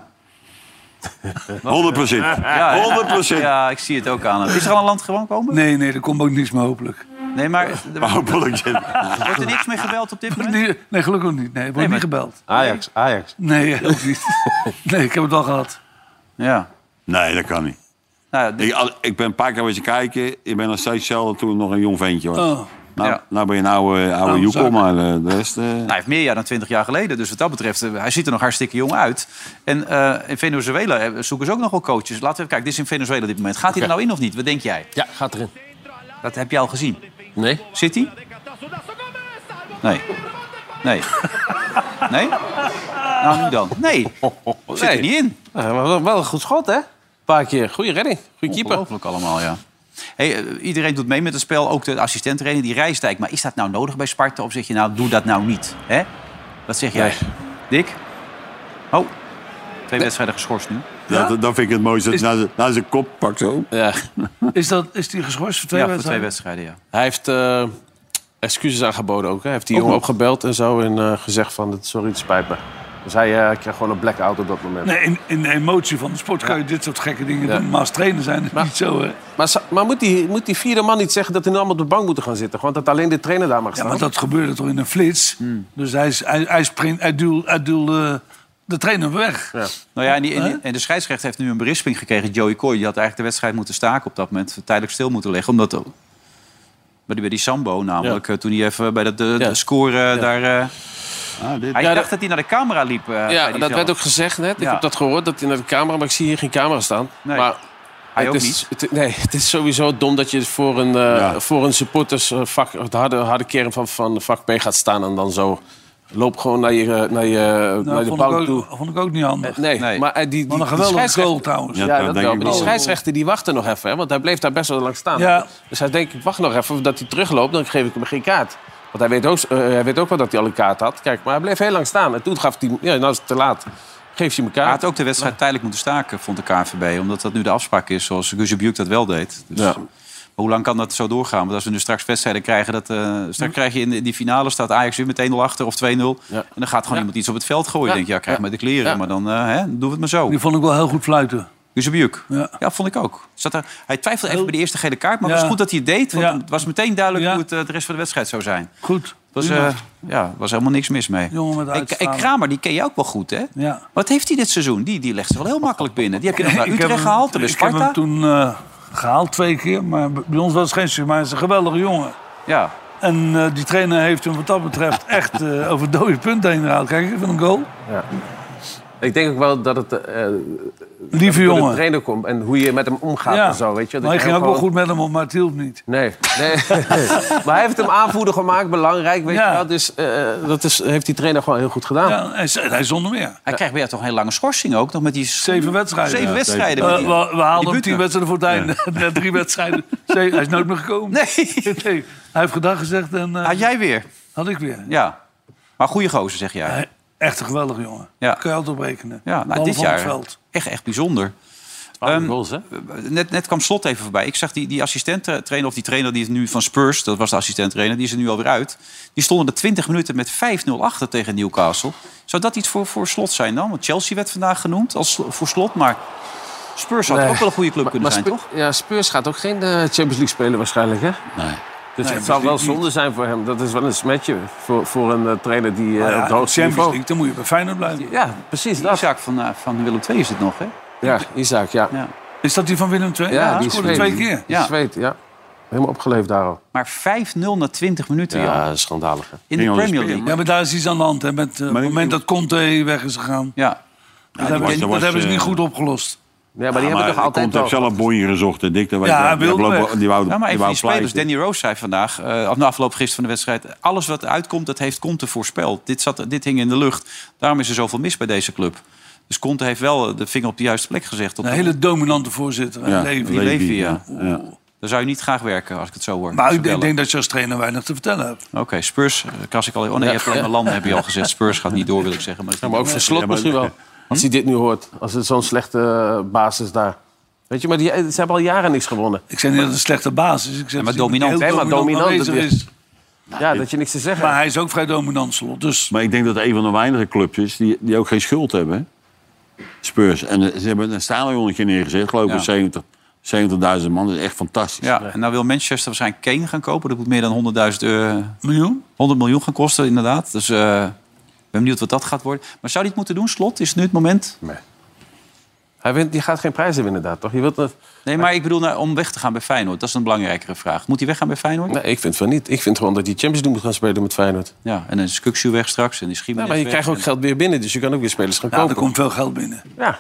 Speaker 4: 100 procent.
Speaker 2: Ja, hè?
Speaker 4: 100 procent.
Speaker 2: Ja, ik zie het ook aan. hem. Is er al een land gewoon komen?
Speaker 3: Nee, nee, er komt ook niks meer hopelijk.
Speaker 2: Nee, maar...
Speaker 4: Hopelijk.
Speaker 2: Wordt er niks meer gebeld op dit moment?
Speaker 3: Nee, nee, gelukkig niet. Nee, wordt
Speaker 2: maar-
Speaker 3: niet gebeld.
Speaker 5: Ajax, Ajax.
Speaker 3: Nee, ook niet. Nee, ik heb het al gehad.
Speaker 2: Ja. Nou
Speaker 4: Nee, dat kan niet. ik, al- ik ben een paar keer wezen kijken. Ik ben nog steeds zelden toen ik nog een jong ventje was.
Speaker 2: Oh.
Speaker 4: Nou,
Speaker 2: Ja.
Speaker 4: nou ben je een oude, oude
Speaker 2: Oude
Speaker 4: joekel,
Speaker 2: zak.
Speaker 4: maar eh, de rest... eh,
Speaker 2: Nou, hij heeft meer jaar dan 20 jaar geleden. Dus wat dat betreft, eh, hij ziet er nog hartstikke jong uit. En eh, in Venezuela eh, zoeken ze ook nog wel coaches. Laten we even kijken, dit is in Venezuela op dit moment. Gaat hij er nou in of niet? Wat denk jij?
Speaker 5: Ja, gaat erin.
Speaker 2: Dat heb je al gezien.
Speaker 5: Nee.
Speaker 2: Zit hij? Nee. Nee. Nee? Nou, nu dan. Nee. Zit hij niet in.
Speaker 5: Eh, wel, wel een goed schot, hè? Een paar keer. Goeie redding. Goeie keeper.
Speaker 2: Ongelooflijk allemaal, ja. Hey, eh, iedereen doet mee met het spel, ook de assistent-trainer, die Rijstijk. Maar is dat nou nodig bij Sparta? Of zeg je nou, doe dat nou niet? Hè? Wat zeg jij? Dick? Oh, twee wedstrijden geschorst nu.
Speaker 4: dat, dat vind ik het mooiste. dat Na, zijn- na zijn kop pak zo.
Speaker 5: Ja.
Speaker 3: Is, dat, is die geschorst voor twee
Speaker 2: ja, voor twee
Speaker 3: wedstrijden?
Speaker 2: wedstrijden, ja.
Speaker 5: Hij heeft eh, excuses aangeboden ook. Hè. Hij heeft die
Speaker 3: Ook
Speaker 5: jongen
Speaker 3: nog.
Speaker 5: opgebeld en zo en eh, gezegd van het- sorry, het spijt me. Dus hij eh, kreeg gewoon een blackout op dat moment.
Speaker 3: Nee, in, in de emotie van de sport kan je dit soort gekke dingen
Speaker 5: Ja.
Speaker 3: doen. Maar als trainer zijn is niet zo... hè.
Speaker 5: Maar, sa- maar moet, die, moet die vierde man niet zeggen dat hij nu allemaal op de bank moeten gaan zitten? Gewoon dat alleen de trainer daar mag
Speaker 3: Ja,
Speaker 5: staan?
Speaker 3: maar dat gebeurde toch in een flits.
Speaker 5: Hmm.
Speaker 3: Dus hij, is- hij, hij springt, hij duwt hij duwt, eh, de trainer weg.
Speaker 2: Nou ja, en, die- en die- en de scheidsrechter heeft nu een berisping gekregen. Joey Coy, die had eigenlijk de wedstrijd moeten staken op dat moment. Tijdelijk stil moeten leggen. Omdat bij die, bij die Sambo namelijk, eh, toen hij even bij dat de, de score eh, daar... eh, hij dacht
Speaker 5: Ja, dat-
Speaker 2: dat hij naar de camera liep. eh, bij
Speaker 5: Ja,
Speaker 2: die
Speaker 5: dat
Speaker 2: zelf.
Speaker 5: werd ook gezegd net. Ik
Speaker 2: Ja.
Speaker 5: heb dat gehoord, dat in de camera, maar ik zie hier geen camera staan.
Speaker 2: Nee.
Speaker 5: Maar
Speaker 2: Hij
Speaker 5: het
Speaker 2: ook
Speaker 5: is,
Speaker 2: niet.
Speaker 5: het- nee, het is sowieso dom dat je voor een, eh, voor een supportersvak, de harde, harde kern van, van vak B gaat staan en dan zo. Loop gewoon naar je, eh, naar je, naar
Speaker 3: Nou,
Speaker 5: je
Speaker 3: vond, ik
Speaker 5: bank toe.
Speaker 3: ook, vond ik ook niet handig.
Speaker 5: Nee, maar eh, die, die,
Speaker 3: Wat een
Speaker 5: die
Speaker 3: geweldige
Speaker 5: scheidsrechter-
Speaker 3: goal trouwens.
Speaker 5: Ja,
Speaker 3: Ja,
Speaker 5: dat
Speaker 3: dat
Speaker 5: wel.
Speaker 3: denk ik
Speaker 5: Maar die
Speaker 3: wel.
Speaker 5: scheidsrechter die wachtte nog even, hè, want hij bleef daar best wel lang staan.
Speaker 3: Ja.
Speaker 5: Dus hij denkt, ik wacht nog even, want dat hij terugloopt, dan geef ik hem geen kaart. Want hij weet, ook, eh, hij weet ook wel dat hij al een kaart had. Kijk, maar hij bleef heel lang staan. En toen gaf hij, ja, nou is het te laat. Geeft hij hem een
Speaker 2: Hij
Speaker 5: kaart.
Speaker 2: had ook de wedstrijd tijdelijk moeten staken, vond de KNVB. Omdat dat nu de afspraak is, zoals Guzebuk dat wel deed. Dus,
Speaker 5: Ja.
Speaker 2: Maar hoe lang kan dat zo doorgaan? Want als we nu straks wedstrijden krijgen... Dat, eh,
Speaker 3: Hm.
Speaker 2: straks krijg je in die- die finale, staat Ajax weer meteen 0 achter of 2-0. En dan gaat gewoon iemand iets op het veld gooien.
Speaker 5: Ja.
Speaker 2: denk je, ja, krijg
Speaker 5: Ja.
Speaker 2: maar de kleren.
Speaker 5: Ja.
Speaker 2: Maar dan eh, hè, dan doen we het maar zo.
Speaker 3: Die vond ik wel heel goed fluiten.
Speaker 2: Guzebuk.
Speaker 3: Ja.
Speaker 2: Ja, vond ik ook. Zat er, hij twijfelde even bij de eerste gele kaart. Maar het
Speaker 3: Ja.
Speaker 2: was goed dat hij het deed. Want
Speaker 3: Ja.
Speaker 2: het was meteen duidelijk hoe het eh, de rest van de wedstrijd zou zijn.
Speaker 3: Goed.
Speaker 2: Er was,
Speaker 3: Prima.
Speaker 2: eh, ja, was helemaal niks mis mee.
Speaker 3: Jongen met
Speaker 2: Ik, ik
Speaker 3: uitstraling.
Speaker 2: Kramer, die ken je ook wel goed, hè?
Speaker 3: Ja.
Speaker 2: Wat heeft hij dit seizoen? Die, die legt ze wel heel makkelijk binnen. Die heb je nog naar
Speaker 3: Ik heb
Speaker 2: Utrecht
Speaker 3: hem-
Speaker 2: gehaald, dan bij
Speaker 3: Ik heb
Speaker 2: Sparta.
Speaker 3: hem toen eh, gehaald twee keer. Maar bij ons was het geen succes. Maar hij is een geweldige jongen.
Speaker 2: Ja.
Speaker 3: En eh, die trainer heeft hem wat dat betreft echt eh, over dode punten heen gehaald. Kijk, van een goal.
Speaker 5: Ik denk ook wel dat het eh,
Speaker 3: Lieve
Speaker 5: door de
Speaker 3: jongen.
Speaker 5: trainer komt en hoe je met hem omgaat
Speaker 3: Ja.
Speaker 5: en zo. Weet je? Dat
Speaker 3: maar hij
Speaker 5: je
Speaker 3: ging ook
Speaker 5: gewoon-
Speaker 3: wel goed met hem om, maar het hielp niet.
Speaker 5: Nee, nee. maar hij heeft hem aanvoerder gemaakt, belangrijk. Weet
Speaker 3: Ja.
Speaker 5: je wel. Dus eh, dat is, heeft die trainer gewoon heel goed gedaan.
Speaker 3: Ja, hij, hij zonder meer.
Speaker 2: Hij krijgt bij jou toch een hele lange schorsing ook, nog met die...
Speaker 3: Zeven wedstrijden.
Speaker 2: Zeven
Speaker 3: Ja,
Speaker 2: wedstrijden.
Speaker 3: Eh,
Speaker 2: met
Speaker 3: we,
Speaker 2: die-
Speaker 3: we
Speaker 2: die
Speaker 3: haalden hem
Speaker 2: Butner.
Speaker 3: tien wedstrijden voor het einde. Na drie wedstrijden. Zeven- hij is nooit meer gekomen.
Speaker 2: Nee.
Speaker 3: Nee, Hij heeft gedag gezegd en eh,
Speaker 2: Had jij weer.
Speaker 3: had ik weer.
Speaker 2: Ja. Maar goede gozer, zeg jij.
Speaker 3: Hij- Echt een geweldige jongen.
Speaker 2: Ja.
Speaker 3: Kun je altijd op rekenen.
Speaker 2: Ja, nou,
Speaker 3: Ballen
Speaker 2: dit
Speaker 3: van het
Speaker 2: jaar
Speaker 3: veld.
Speaker 2: echt, echt bijzonder. Ehm, Net, net kwam Slot even voorbij. Ik zag die, die assistent-trainer, of die trainer die is nu van Spurs... dat was de assistent-trainer, die is er nu alweer uit. Die stonden er 20 minuten met 5-0 achter tegen Newcastle. Zou dat iets voor, voor Slot zijn dan? Want Chelsea werd vandaag genoemd als sl- voor Slot, maar... Spurs had
Speaker 5: Nee.
Speaker 2: ook wel een goede club
Speaker 5: Maar-
Speaker 2: kunnen
Speaker 5: maar
Speaker 2: zijn,
Speaker 5: Spe-
Speaker 2: toch?
Speaker 5: Ja, Spurs gaat ook geen eh, Champions League spelen waarschijnlijk, hè?
Speaker 4: Nee.
Speaker 5: Dus
Speaker 3: Nee,
Speaker 5: het zou wel
Speaker 3: natuurlijk niet.
Speaker 5: zonde zijn voor hem. Dat is wel een smetje voor, voor een eh, trainer die eh,
Speaker 3: Nou ja,
Speaker 5: op het hoogste
Speaker 3: Champions
Speaker 5: niveau...
Speaker 3: League, dan moet je bij Feyenoord blijven.
Speaker 5: Ja, precies. Dat.
Speaker 2: Isaac van, eh, van Willem II is het nog, hè?
Speaker 5: Ja, Isaac, ja.
Speaker 2: Ja.
Speaker 3: Is dat die van Willem II?
Speaker 5: Ja,
Speaker 3: Ja, hij
Speaker 5: die
Speaker 3: scoorde
Speaker 5: Zweed.
Speaker 3: twee keer.
Speaker 5: Die
Speaker 2: Ja.
Speaker 5: Zweed, ja. Helemaal opgeleefd daar al.
Speaker 2: Maar 5-0 na 20 minuten, joh.
Speaker 5: Ja, schandalig. hè.
Speaker 2: In de
Speaker 4: Engels
Speaker 2: Premier
Speaker 4: spelen.
Speaker 2: League.
Speaker 3: Ja, maar daar is iets aan de hand. Hè, met, eh, op het moment dat Conte weg is gegaan.
Speaker 2: Ja.
Speaker 3: dat hebben,
Speaker 4: was-
Speaker 3: ze-
Speaker 4: dat
Speaker 3: dat
Speaker 4: was,
Speaker 3: hebben ze
Speaker 4: eh,
Speaker 3: niet goed opgelost.
Speaker 5: Ja, maar die hebben
Speaker 4: maar
Speaker 5: toch altijd
Speaker 4: Komt heb
Speaker 5: al...
Speaker 4: zelf bonje gezocht, hè, Dick. Dat weet
Speaker 3: Ja,
Speaker 4: je.
Speaker 3: hij
Speaker 4: Die
Speaker 3: wilde
Speaker 4: wou-
Speaker 3: weg.
Speaker 4: Die wou,
Speaker 2: Nou, maar
Speaker 4: die
Speaker 2: even
Speaker 4: wou
Speaker 2: die spelers.
Speaker 4: pleiten.
Speaker 2: Danny Rose zei vandaag, eh, of na afloop gisteren van de wedstrijd... alles wat uitkomt, dat heeft Conte voorspeld. Dit, zat, dit hing in de lucht. Daarom is er zoveel mis bij deze club. Dus Conte heeft wel de vinger op de juiste plek gezegd. Op
Speaker 3: Een hele dominante voorzitter. hè,
Speaker 2: ja,
Speaker 3: Levy.
Speaker 2: Levy, ja. Daar zou je niet graag werken, als ik het zo hoor.
Speaker 3: Maar
Speaker 2: Als
Speaker 3: ik
Speaker 2: ze
Speaker 3: denk,
Speaker 2: bellen.
Speaker 3: denk dat je als trainer weinig te vertellen hebt.
Speaker 2: Oké, Spurs, eh, Kas ik al. Oh nee, je hebt alleen maar landen, heb je al gezegd. Spurs gaat niet door, wil ik zeggen. Maar,
Speaker 5: Ja, maar ook voor slot misschien wel. Als hij dit nu hoort. Als het zo'n slechte eh, basis daar. Weet je, maar die, eh, ze hebben al jaren niks gewonnen.
Speaker 3: Ik zeg niet dat het een slechte basis is. Ik zeg
Speaker 5: maar
Speaker 3: dat hij
Speaker 5: dominant.
Speaker 3: heel
Speaker 5: hè, maar
Speaker 3: dominant
Speaker 5: dominant. dat
Speaker 3: aanwezig
Speaker 5: is. Ja, dat je niks te zeggen
Speaker 3: Maar hij is ook vrij dominant, Slot. Dus
Speaker 4: Maar ik denk dat het een van de weinige clubs is die, die ook geen schuld hebben. hè. Spurs. En eh, ze hebben een stadionnetje neergezet, geloof
Speaker 2: Ja.
Speaker 4: ik, 70 70.000 man. Dat is echt fantastisch.
Speaker 2: Ja, en nou wil Manchester waarschijnlijk Kane gaan kopen. Dat moet meer dan 100.000 euro.
Speaker 3: Miljoen?
Speaker 2: 100 miljoen gaan kosten, inderdaad. Dus eh, ik ben benieuwd wat dat gaat worden. Maar zou hij het moeten doen, Slot? Is het nu het moment?
Speaker 5: Nee. Hij wint, die gaat geen prijzen winnen daar, toch? Je wilt dat...
Speaker 2: Nee, maar ik bedoel nou, om weg te gaan bij Feyenoord. Dat is een belangrijkere vraag. Moet hij weggaan bij Feyenoord?
Speaker 5: Nee, ik vind van niet. Ik vind gewoon dat die Champions League moet gaan spelen met Feyenoord.
Speaker 2: Ja, en dan is Kukshu weg straks en die Schiemen
Speaker 5: Ja, maar je krijgt ook geld weer binnen, dus je kan ook weer spelers gaan
Speaker 3: ja,
Speaker 5: kopen.
Speaker 3: er komt veel geld binnen.
Speaker 5: Ja.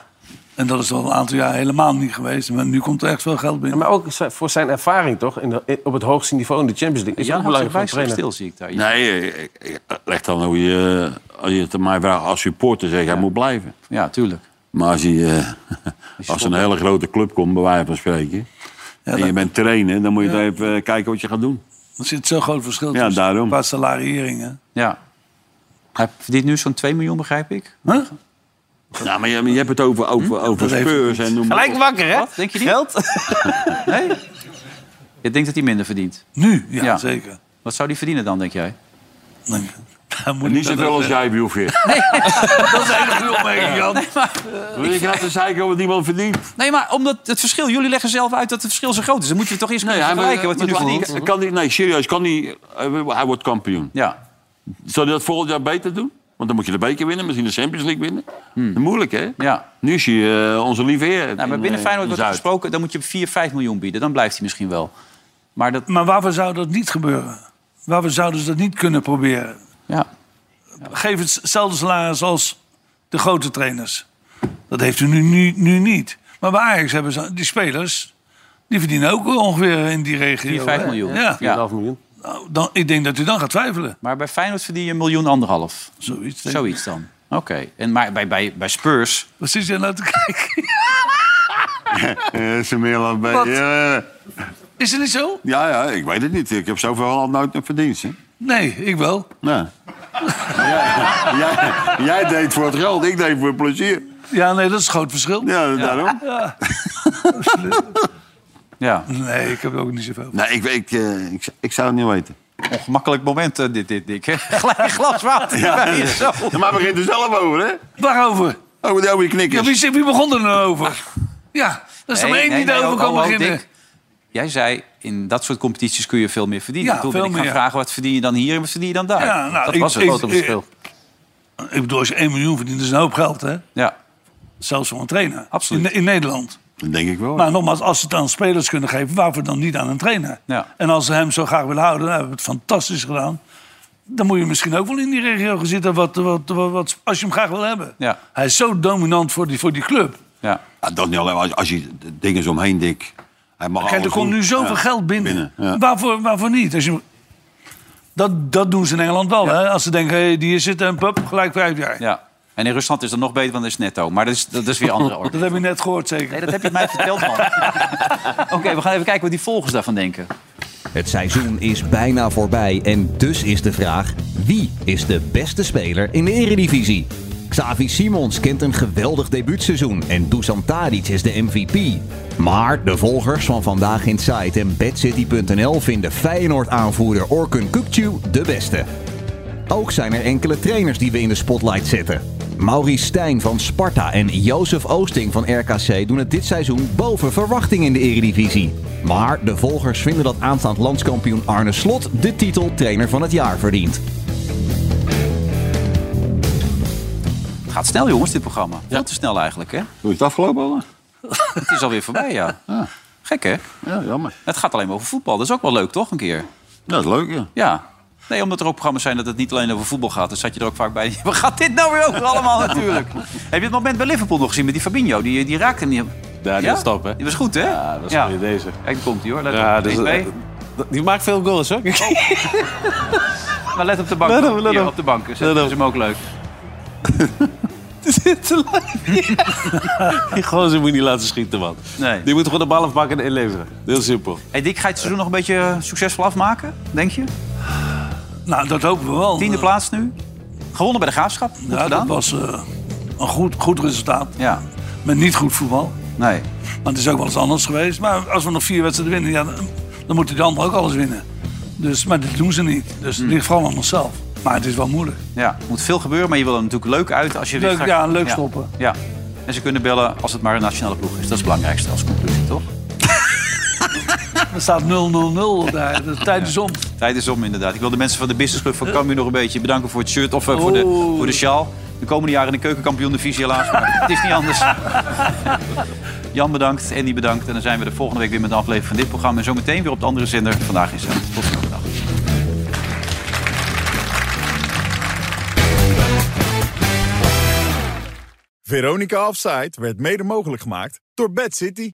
Speaker 3: En dat is al een aantal jaar helemaal niet geweest. Maar nu komt er echt veel geld binnen.
Speaker 5: Maar ook z- voor zijn ervaring toch, in de- in- op het hoogste niveau in de Champions League. Is
Speaker 2: Jan
Speaker 5: ook
Speaker 2: houdt
Speaker 5: belangrijk
Speaker 2: zich
Speaker 5: voor een
Speaker 2: wijs stil, zie
Speaker 5: trainer.
Speaker 2: ik daar.
Speaker 4: Nee, eh, eh, leg dan hoe je... eh, Als je het aan mij vraagt als supporter, zeg ik, hij moet blijven.
Speaker 2: Ja, tuurlijk.
Speaker 4: Maar als, je, eh, als een hele grote club komt, bij wijze van spreken... en je bent trainer, dan moet je
Speaker 3: Ja.
Speaker 4: daar even eh, kijken wat je gaat doen.
Speaker 3: Er zit zo'n groot verschil
Speaker 4: Ja,
Speaker 3: tussen
Speaker 4: daarom.
Speaker 3: qua salarieringen.
Speaker 2: Ja. Hij verdient nu zo'n 2 miljoen, begrijp ik.
Speaker 3: Huh?
Speaker 4: Nou, maar je, maar je hebt het over, over, over
Speaker 2: Hm? Dat heeft-
Speaker 4: Spurs en noem maar op.
Speaker 2: wakker, hè? Denk je niet? Geld? nee? Je denkt dat hij minder verdient?
Speaker 3: Nu, ja, zeker.
Speaker 2: Wat zou hij verdienen dan, denk jij?
Speaker 3: Moet
Speaker 4: Niet zoveel als jij, Wielveer.
Speaker 3: Dat is een hele opmerking, Jan.
Speaker 4: Wil je graag te zeiken wat niemand verdient?
Speaker 2: eh, Nee, maar omdat het verschil... Jullie leggen zelf uit dat het verschil zo groot is. Dan moet je toch eerst kunnen
Speaker 4: Ja, maar,
Speaker 2: vergelijken wat hij nu
Speaker 4: maar
Speaker 2: verdient.
Speaker 4: kan, kan die, nee, serieus, kan die, eh, hij wordt kampioen.
Speaker 2: Ja.
Speaker 4: Zou hij dat volgend jaar beter doen? Want dan moet je de beker winnen, misschien de Champions League winnen. Moeilijk, hè?
Speaker 2: Ja.
Speaker 4: Nu is hij eh, onze lieve heer.
Speaker 2: Nou, maar
Speaker 4: in,
Speaker 2: binnen
Speaker 4: eh, in
Speaker 2: Feyenoord wordt er
Speaker 4: Zuid.
Speaker 2: gesproken... dan moet je 4, 5 miljoen bieden. Dan blijft hij misschien wel. Maar dat...
Speaker 3: Maar waarvoor zou dat niet gebeuren? Waarvoor zouden ze dat niet kunnen proberen?
Speaker 2: Ja.
Speaker 3: Geef hetzelfde salaris als de grote trainers. Dat heeft u nu, nu, nu niet. Maar bij Ajax hebben ze die spelers... die verdienen ook ongeveer in die regio.
Speaker 2: 4, 5
Speaker 3: hè?
Speaker 2: miljoen.
Speaker 3: Ja.
Speaker 5: 4,5 miljoen.
Speaker 3: Nou, dan, ik denk dat u dan gaat twijfelen.
Speaker 2: Maar bij Feyenoord verdien je een miljoen anderhalf.
Speaker 3: Zoiets. denk ik.
Speaker 2: Zoiets dan. Oké. En maar bij, bij, bij Spurs...
Speaker 3: Wat zit jij nou te kijken?
Speaker 4: Eh, ze meer laat bij.
Speaker 3: Wat?
Speaker 4: Ja,
Speaker 3: Is het niet zo?
Speaker 4: ja, ja, ik weet het niet. Ik heb zoveel al nooit een verdienst. Hè?
Speaker 3: Nee, ik wel.
Speaker 4: Nou. jij, jij- jij deed voor het geld, ik deed voor het plezier.
Speaker 3: Ja, nee, dat is een groot verschil.
Speaker 4: Ja, daarom.
Speaker 3: Ja.
Speaker 2: Ja.
Speaker 3: Nee, ik heb ook niet zoveel.
Speaker 4: Nee, ik, ik, eh, ik, ik zou het niet weten.
Speaker 2: Ongemakkelijk moment, eh, dit, dit, Dick. hè? Gelijk een glas water.
Speaker 4: Ja.
Speaker 2: erbij, zo.
Speaker 4: Maar we begint er zelf over, hè?
Speaker 3: Waarover?
Speaker 4: Oh, Over die oude
Speaker 3: Ja,
Speaker 4: knikkers.
Speaker 3: wie, zit- wie begon er nou over? Ja, dat is er
Speaker 2: Nee,
Speaker 3: maar één
Speaker 2: nee, nee,
Speaker 3: die daarover
Speaker 2: oh,
Speaker 3: kan
Speaker 2: oh, oh,
Speaker 3: beginnen.
Speaker 2: Dick. Jij zei, in dat soort competities kun je veel meer verdienen.
Speaker 3: Ja,
Speaker 2: Toen
Speaker 3: veel
Speaker 2: ben ik gaan
Speaker 3: meer.
Speaker 2: vragen, wat verdien je dan hier en wat verdien je dan daar?
Speaker 3: Ja, nou,
Speaker 2: dat
Speaker 3: ik-
Speaker 2: was het
Speaker 3: ik-
Speaker 2: grote
Speaker 3: ik-
Speaker 2: verschil.
Speaker 3: Ik bedoel, als je 1 miljoen verdient, is een hoop geld, hè?
Speaker 2: Ja,
Speaker 3: Zelfs voor een trainer.
Speaker 2: Absoluut.
Speaker 3: In, in Nederland.
Speaker 4: Dat denk ik wel.
Speaker 3: Maar nogmaals, als ze het aan spelers kunnen geven, waarvoor dan niet aan een trainer?
Speaker 2: ja.
Speaker 3: En als ze hem zo graag willen houden, dan hebben we het fantastisch gedaan. Dan moet je misschien ook wel in die regio gaan zitten wat, wat, wat, wat- als je hem graag wil hebben.
Speaker 2: Ja.
Speaker 3: Hij is zo dominant voor die, voor die club.
Speaker 2: ja.
Speaker 4: Ja, dat niet alleen, maar als, als je de dingen zo omheen dik. Hij mag
Speaker 3: Kijk, er
Speaker 4: alles
Speaker 3: komt
Speaker 4: doen.
Speaker 3: nu zoveel
Speaker 4: Ja.
Speaker 3: geld binnen.
Speaker 4: Binnen, ja.
Speaker 3: waarvoor, waarvoor niet? Als je, dat, dat doen ze in Engeland wel. Hè? Als ze denken, hey, die hier zit en pup, gelijk vijf jaar.
Speaker 2: ja. En in Rusland is dat nog beter, want dat is netto. Maar dat is, dat is weer andere orde.
Speaker 3: Dat heb je net gehoord, zeker.
Speaker 2: Nee, dat heb je mij verteld, man. Oké, we gaan even kijken wat die volgers daarvan denken.
Speaker 18: Het seizoen is bijna voorbij en dus is de vraag: wie is de beste speler in de Eredivisie? Xavi Simons kent een geweldig debuutseizoen en Dusan Tadic is de MVP. Maar de volgers van Vandaag Inside en BadCity.nl vinden Feyenoord-aanvoerder Orkun Kukcu de beste. Ook zijn er enkele trainers die we in de spotlight zetten. Maurice Stijn van Sparta en Jozef Oosting van RKC doen het dit seizoen boven verwachting in de Eredivisie. Maar de volgers vinden dat aanstaand landskampioen Arne Slot de titel trainer van het jaar verdient.
Speaker 2: Het gaat snel, jongens, dit programma. Veel te snel eigenlijk, hè?
Speaker 4: Hoe is het afgelopen? Al?
Speaker 2: Het is alweer voorbij, ja.
Speaker 19: Ah.
Speaker 2: Gek, hè?
Speaker 4: Ja, jammer.
Speaker 2: Het gaat alleen maar over voetbal. Dat is ook wel leuk, toch, een keer?
Speaker 4: Nou, Dat is leuk, ja.
Speaker 2: Ja. Nee, omdat er ook programma's zijn dat het niet alleen over voetbal gaat. Dan zat je er ook vaak bij. Waar gaat dit nou weer over allemaal natuurlijk? Heb je het moment bij Liverpool nog gezien met die Fabinho? Die, die raakte hem niet.
Speaker 19: Ja, die was top, hè?
Speaker 2: Die was goed, hè? Ja,
Speaker 19: dat
Speaker 2: was
Speaker 19: is weer deze.
Speaker 2: Kijk, komt hij hoor. Let
Speaker 19: Ja,
Speaker 2: op.
Speaker 19: dus,
Speaker 2: Eén, twee.
Speaker 19: Die maakt veel goals, hoor.
Speaker 2: Maar let op de bank.
Speaker 19: Let op, let
Speaker 2: Hier,
Speaker 19: op.
Speaker 2: op de bank. Dus
Speaker 19: Let
Speaker 2: Dat
Speaker 19: op.
Speaker 2: is hem ook leuk.
Speaker 19: Die gozer moet niet laten schieten, man.
Speaker 2: Nee.
Speaker 19: Die moet gewoon de bal afpakken en leveren. Heel simpel.
Speaker 2: Hey Dick, ga je het seizoen nog een beetje succesvol afmaken, denk je?
Speaker 3: Nou, dat hopen we wel.
Speaker 2: Tiende plaats nu. Gewonnen bij de Graafschap. Goed
Speaker 3: Ja, dat
Speaker 2: gedaan.
Speaker 3: was eh, een goed, goed resultaat.
Speaker 2: Ja.
Speaker 3: Met niet goed voetbal.
Speaker 2: Nee.
Speaker 3: Maar het is ook wel eens anders geweest. Maar als we nog vier wedstrijden winnen, ja, dan, dan moeten die anderen ook alles winnen. Dus, maar dat doen ze niet. Dus het ligt vooral aan onszelf. Maar het is wel moeilijk.
Speaker 2: Ja, er moet veel gebeuren, maar je wil er natuurlijk leuk uit als je weer
Speaker 3: Leuk,
Speaker 2: gaat-
Speaker 3: ja, leuk stoppen.
Speaker 2: Ja. En ze kunnen bellen als het maar een nationale ploeg is. Dat is het belangrijkste als conclusie, toch?
Speaker 3: Er staat 0-0-0 daar. De tijd is om.
Speaker 2: Tijd is om, inderdaad. Ik wil de mensen van de Business Club van Cambuur nog een beetje bedanken voor het shirt of eh, voor, de, voor de sjaal. De komende jaren in de keukenkampioen-divisie helaas, maar het is niet anders. Jan bedankt, Andy bedankt. En dan zijn we de volgende week weer met een aflevering van dit programma. En zometeen weer op de andere zender. Vandaag is het. Tot volgende dag.
Speaker 1: Veronica Offside werd mede mogelijk gemaakt door Bad City.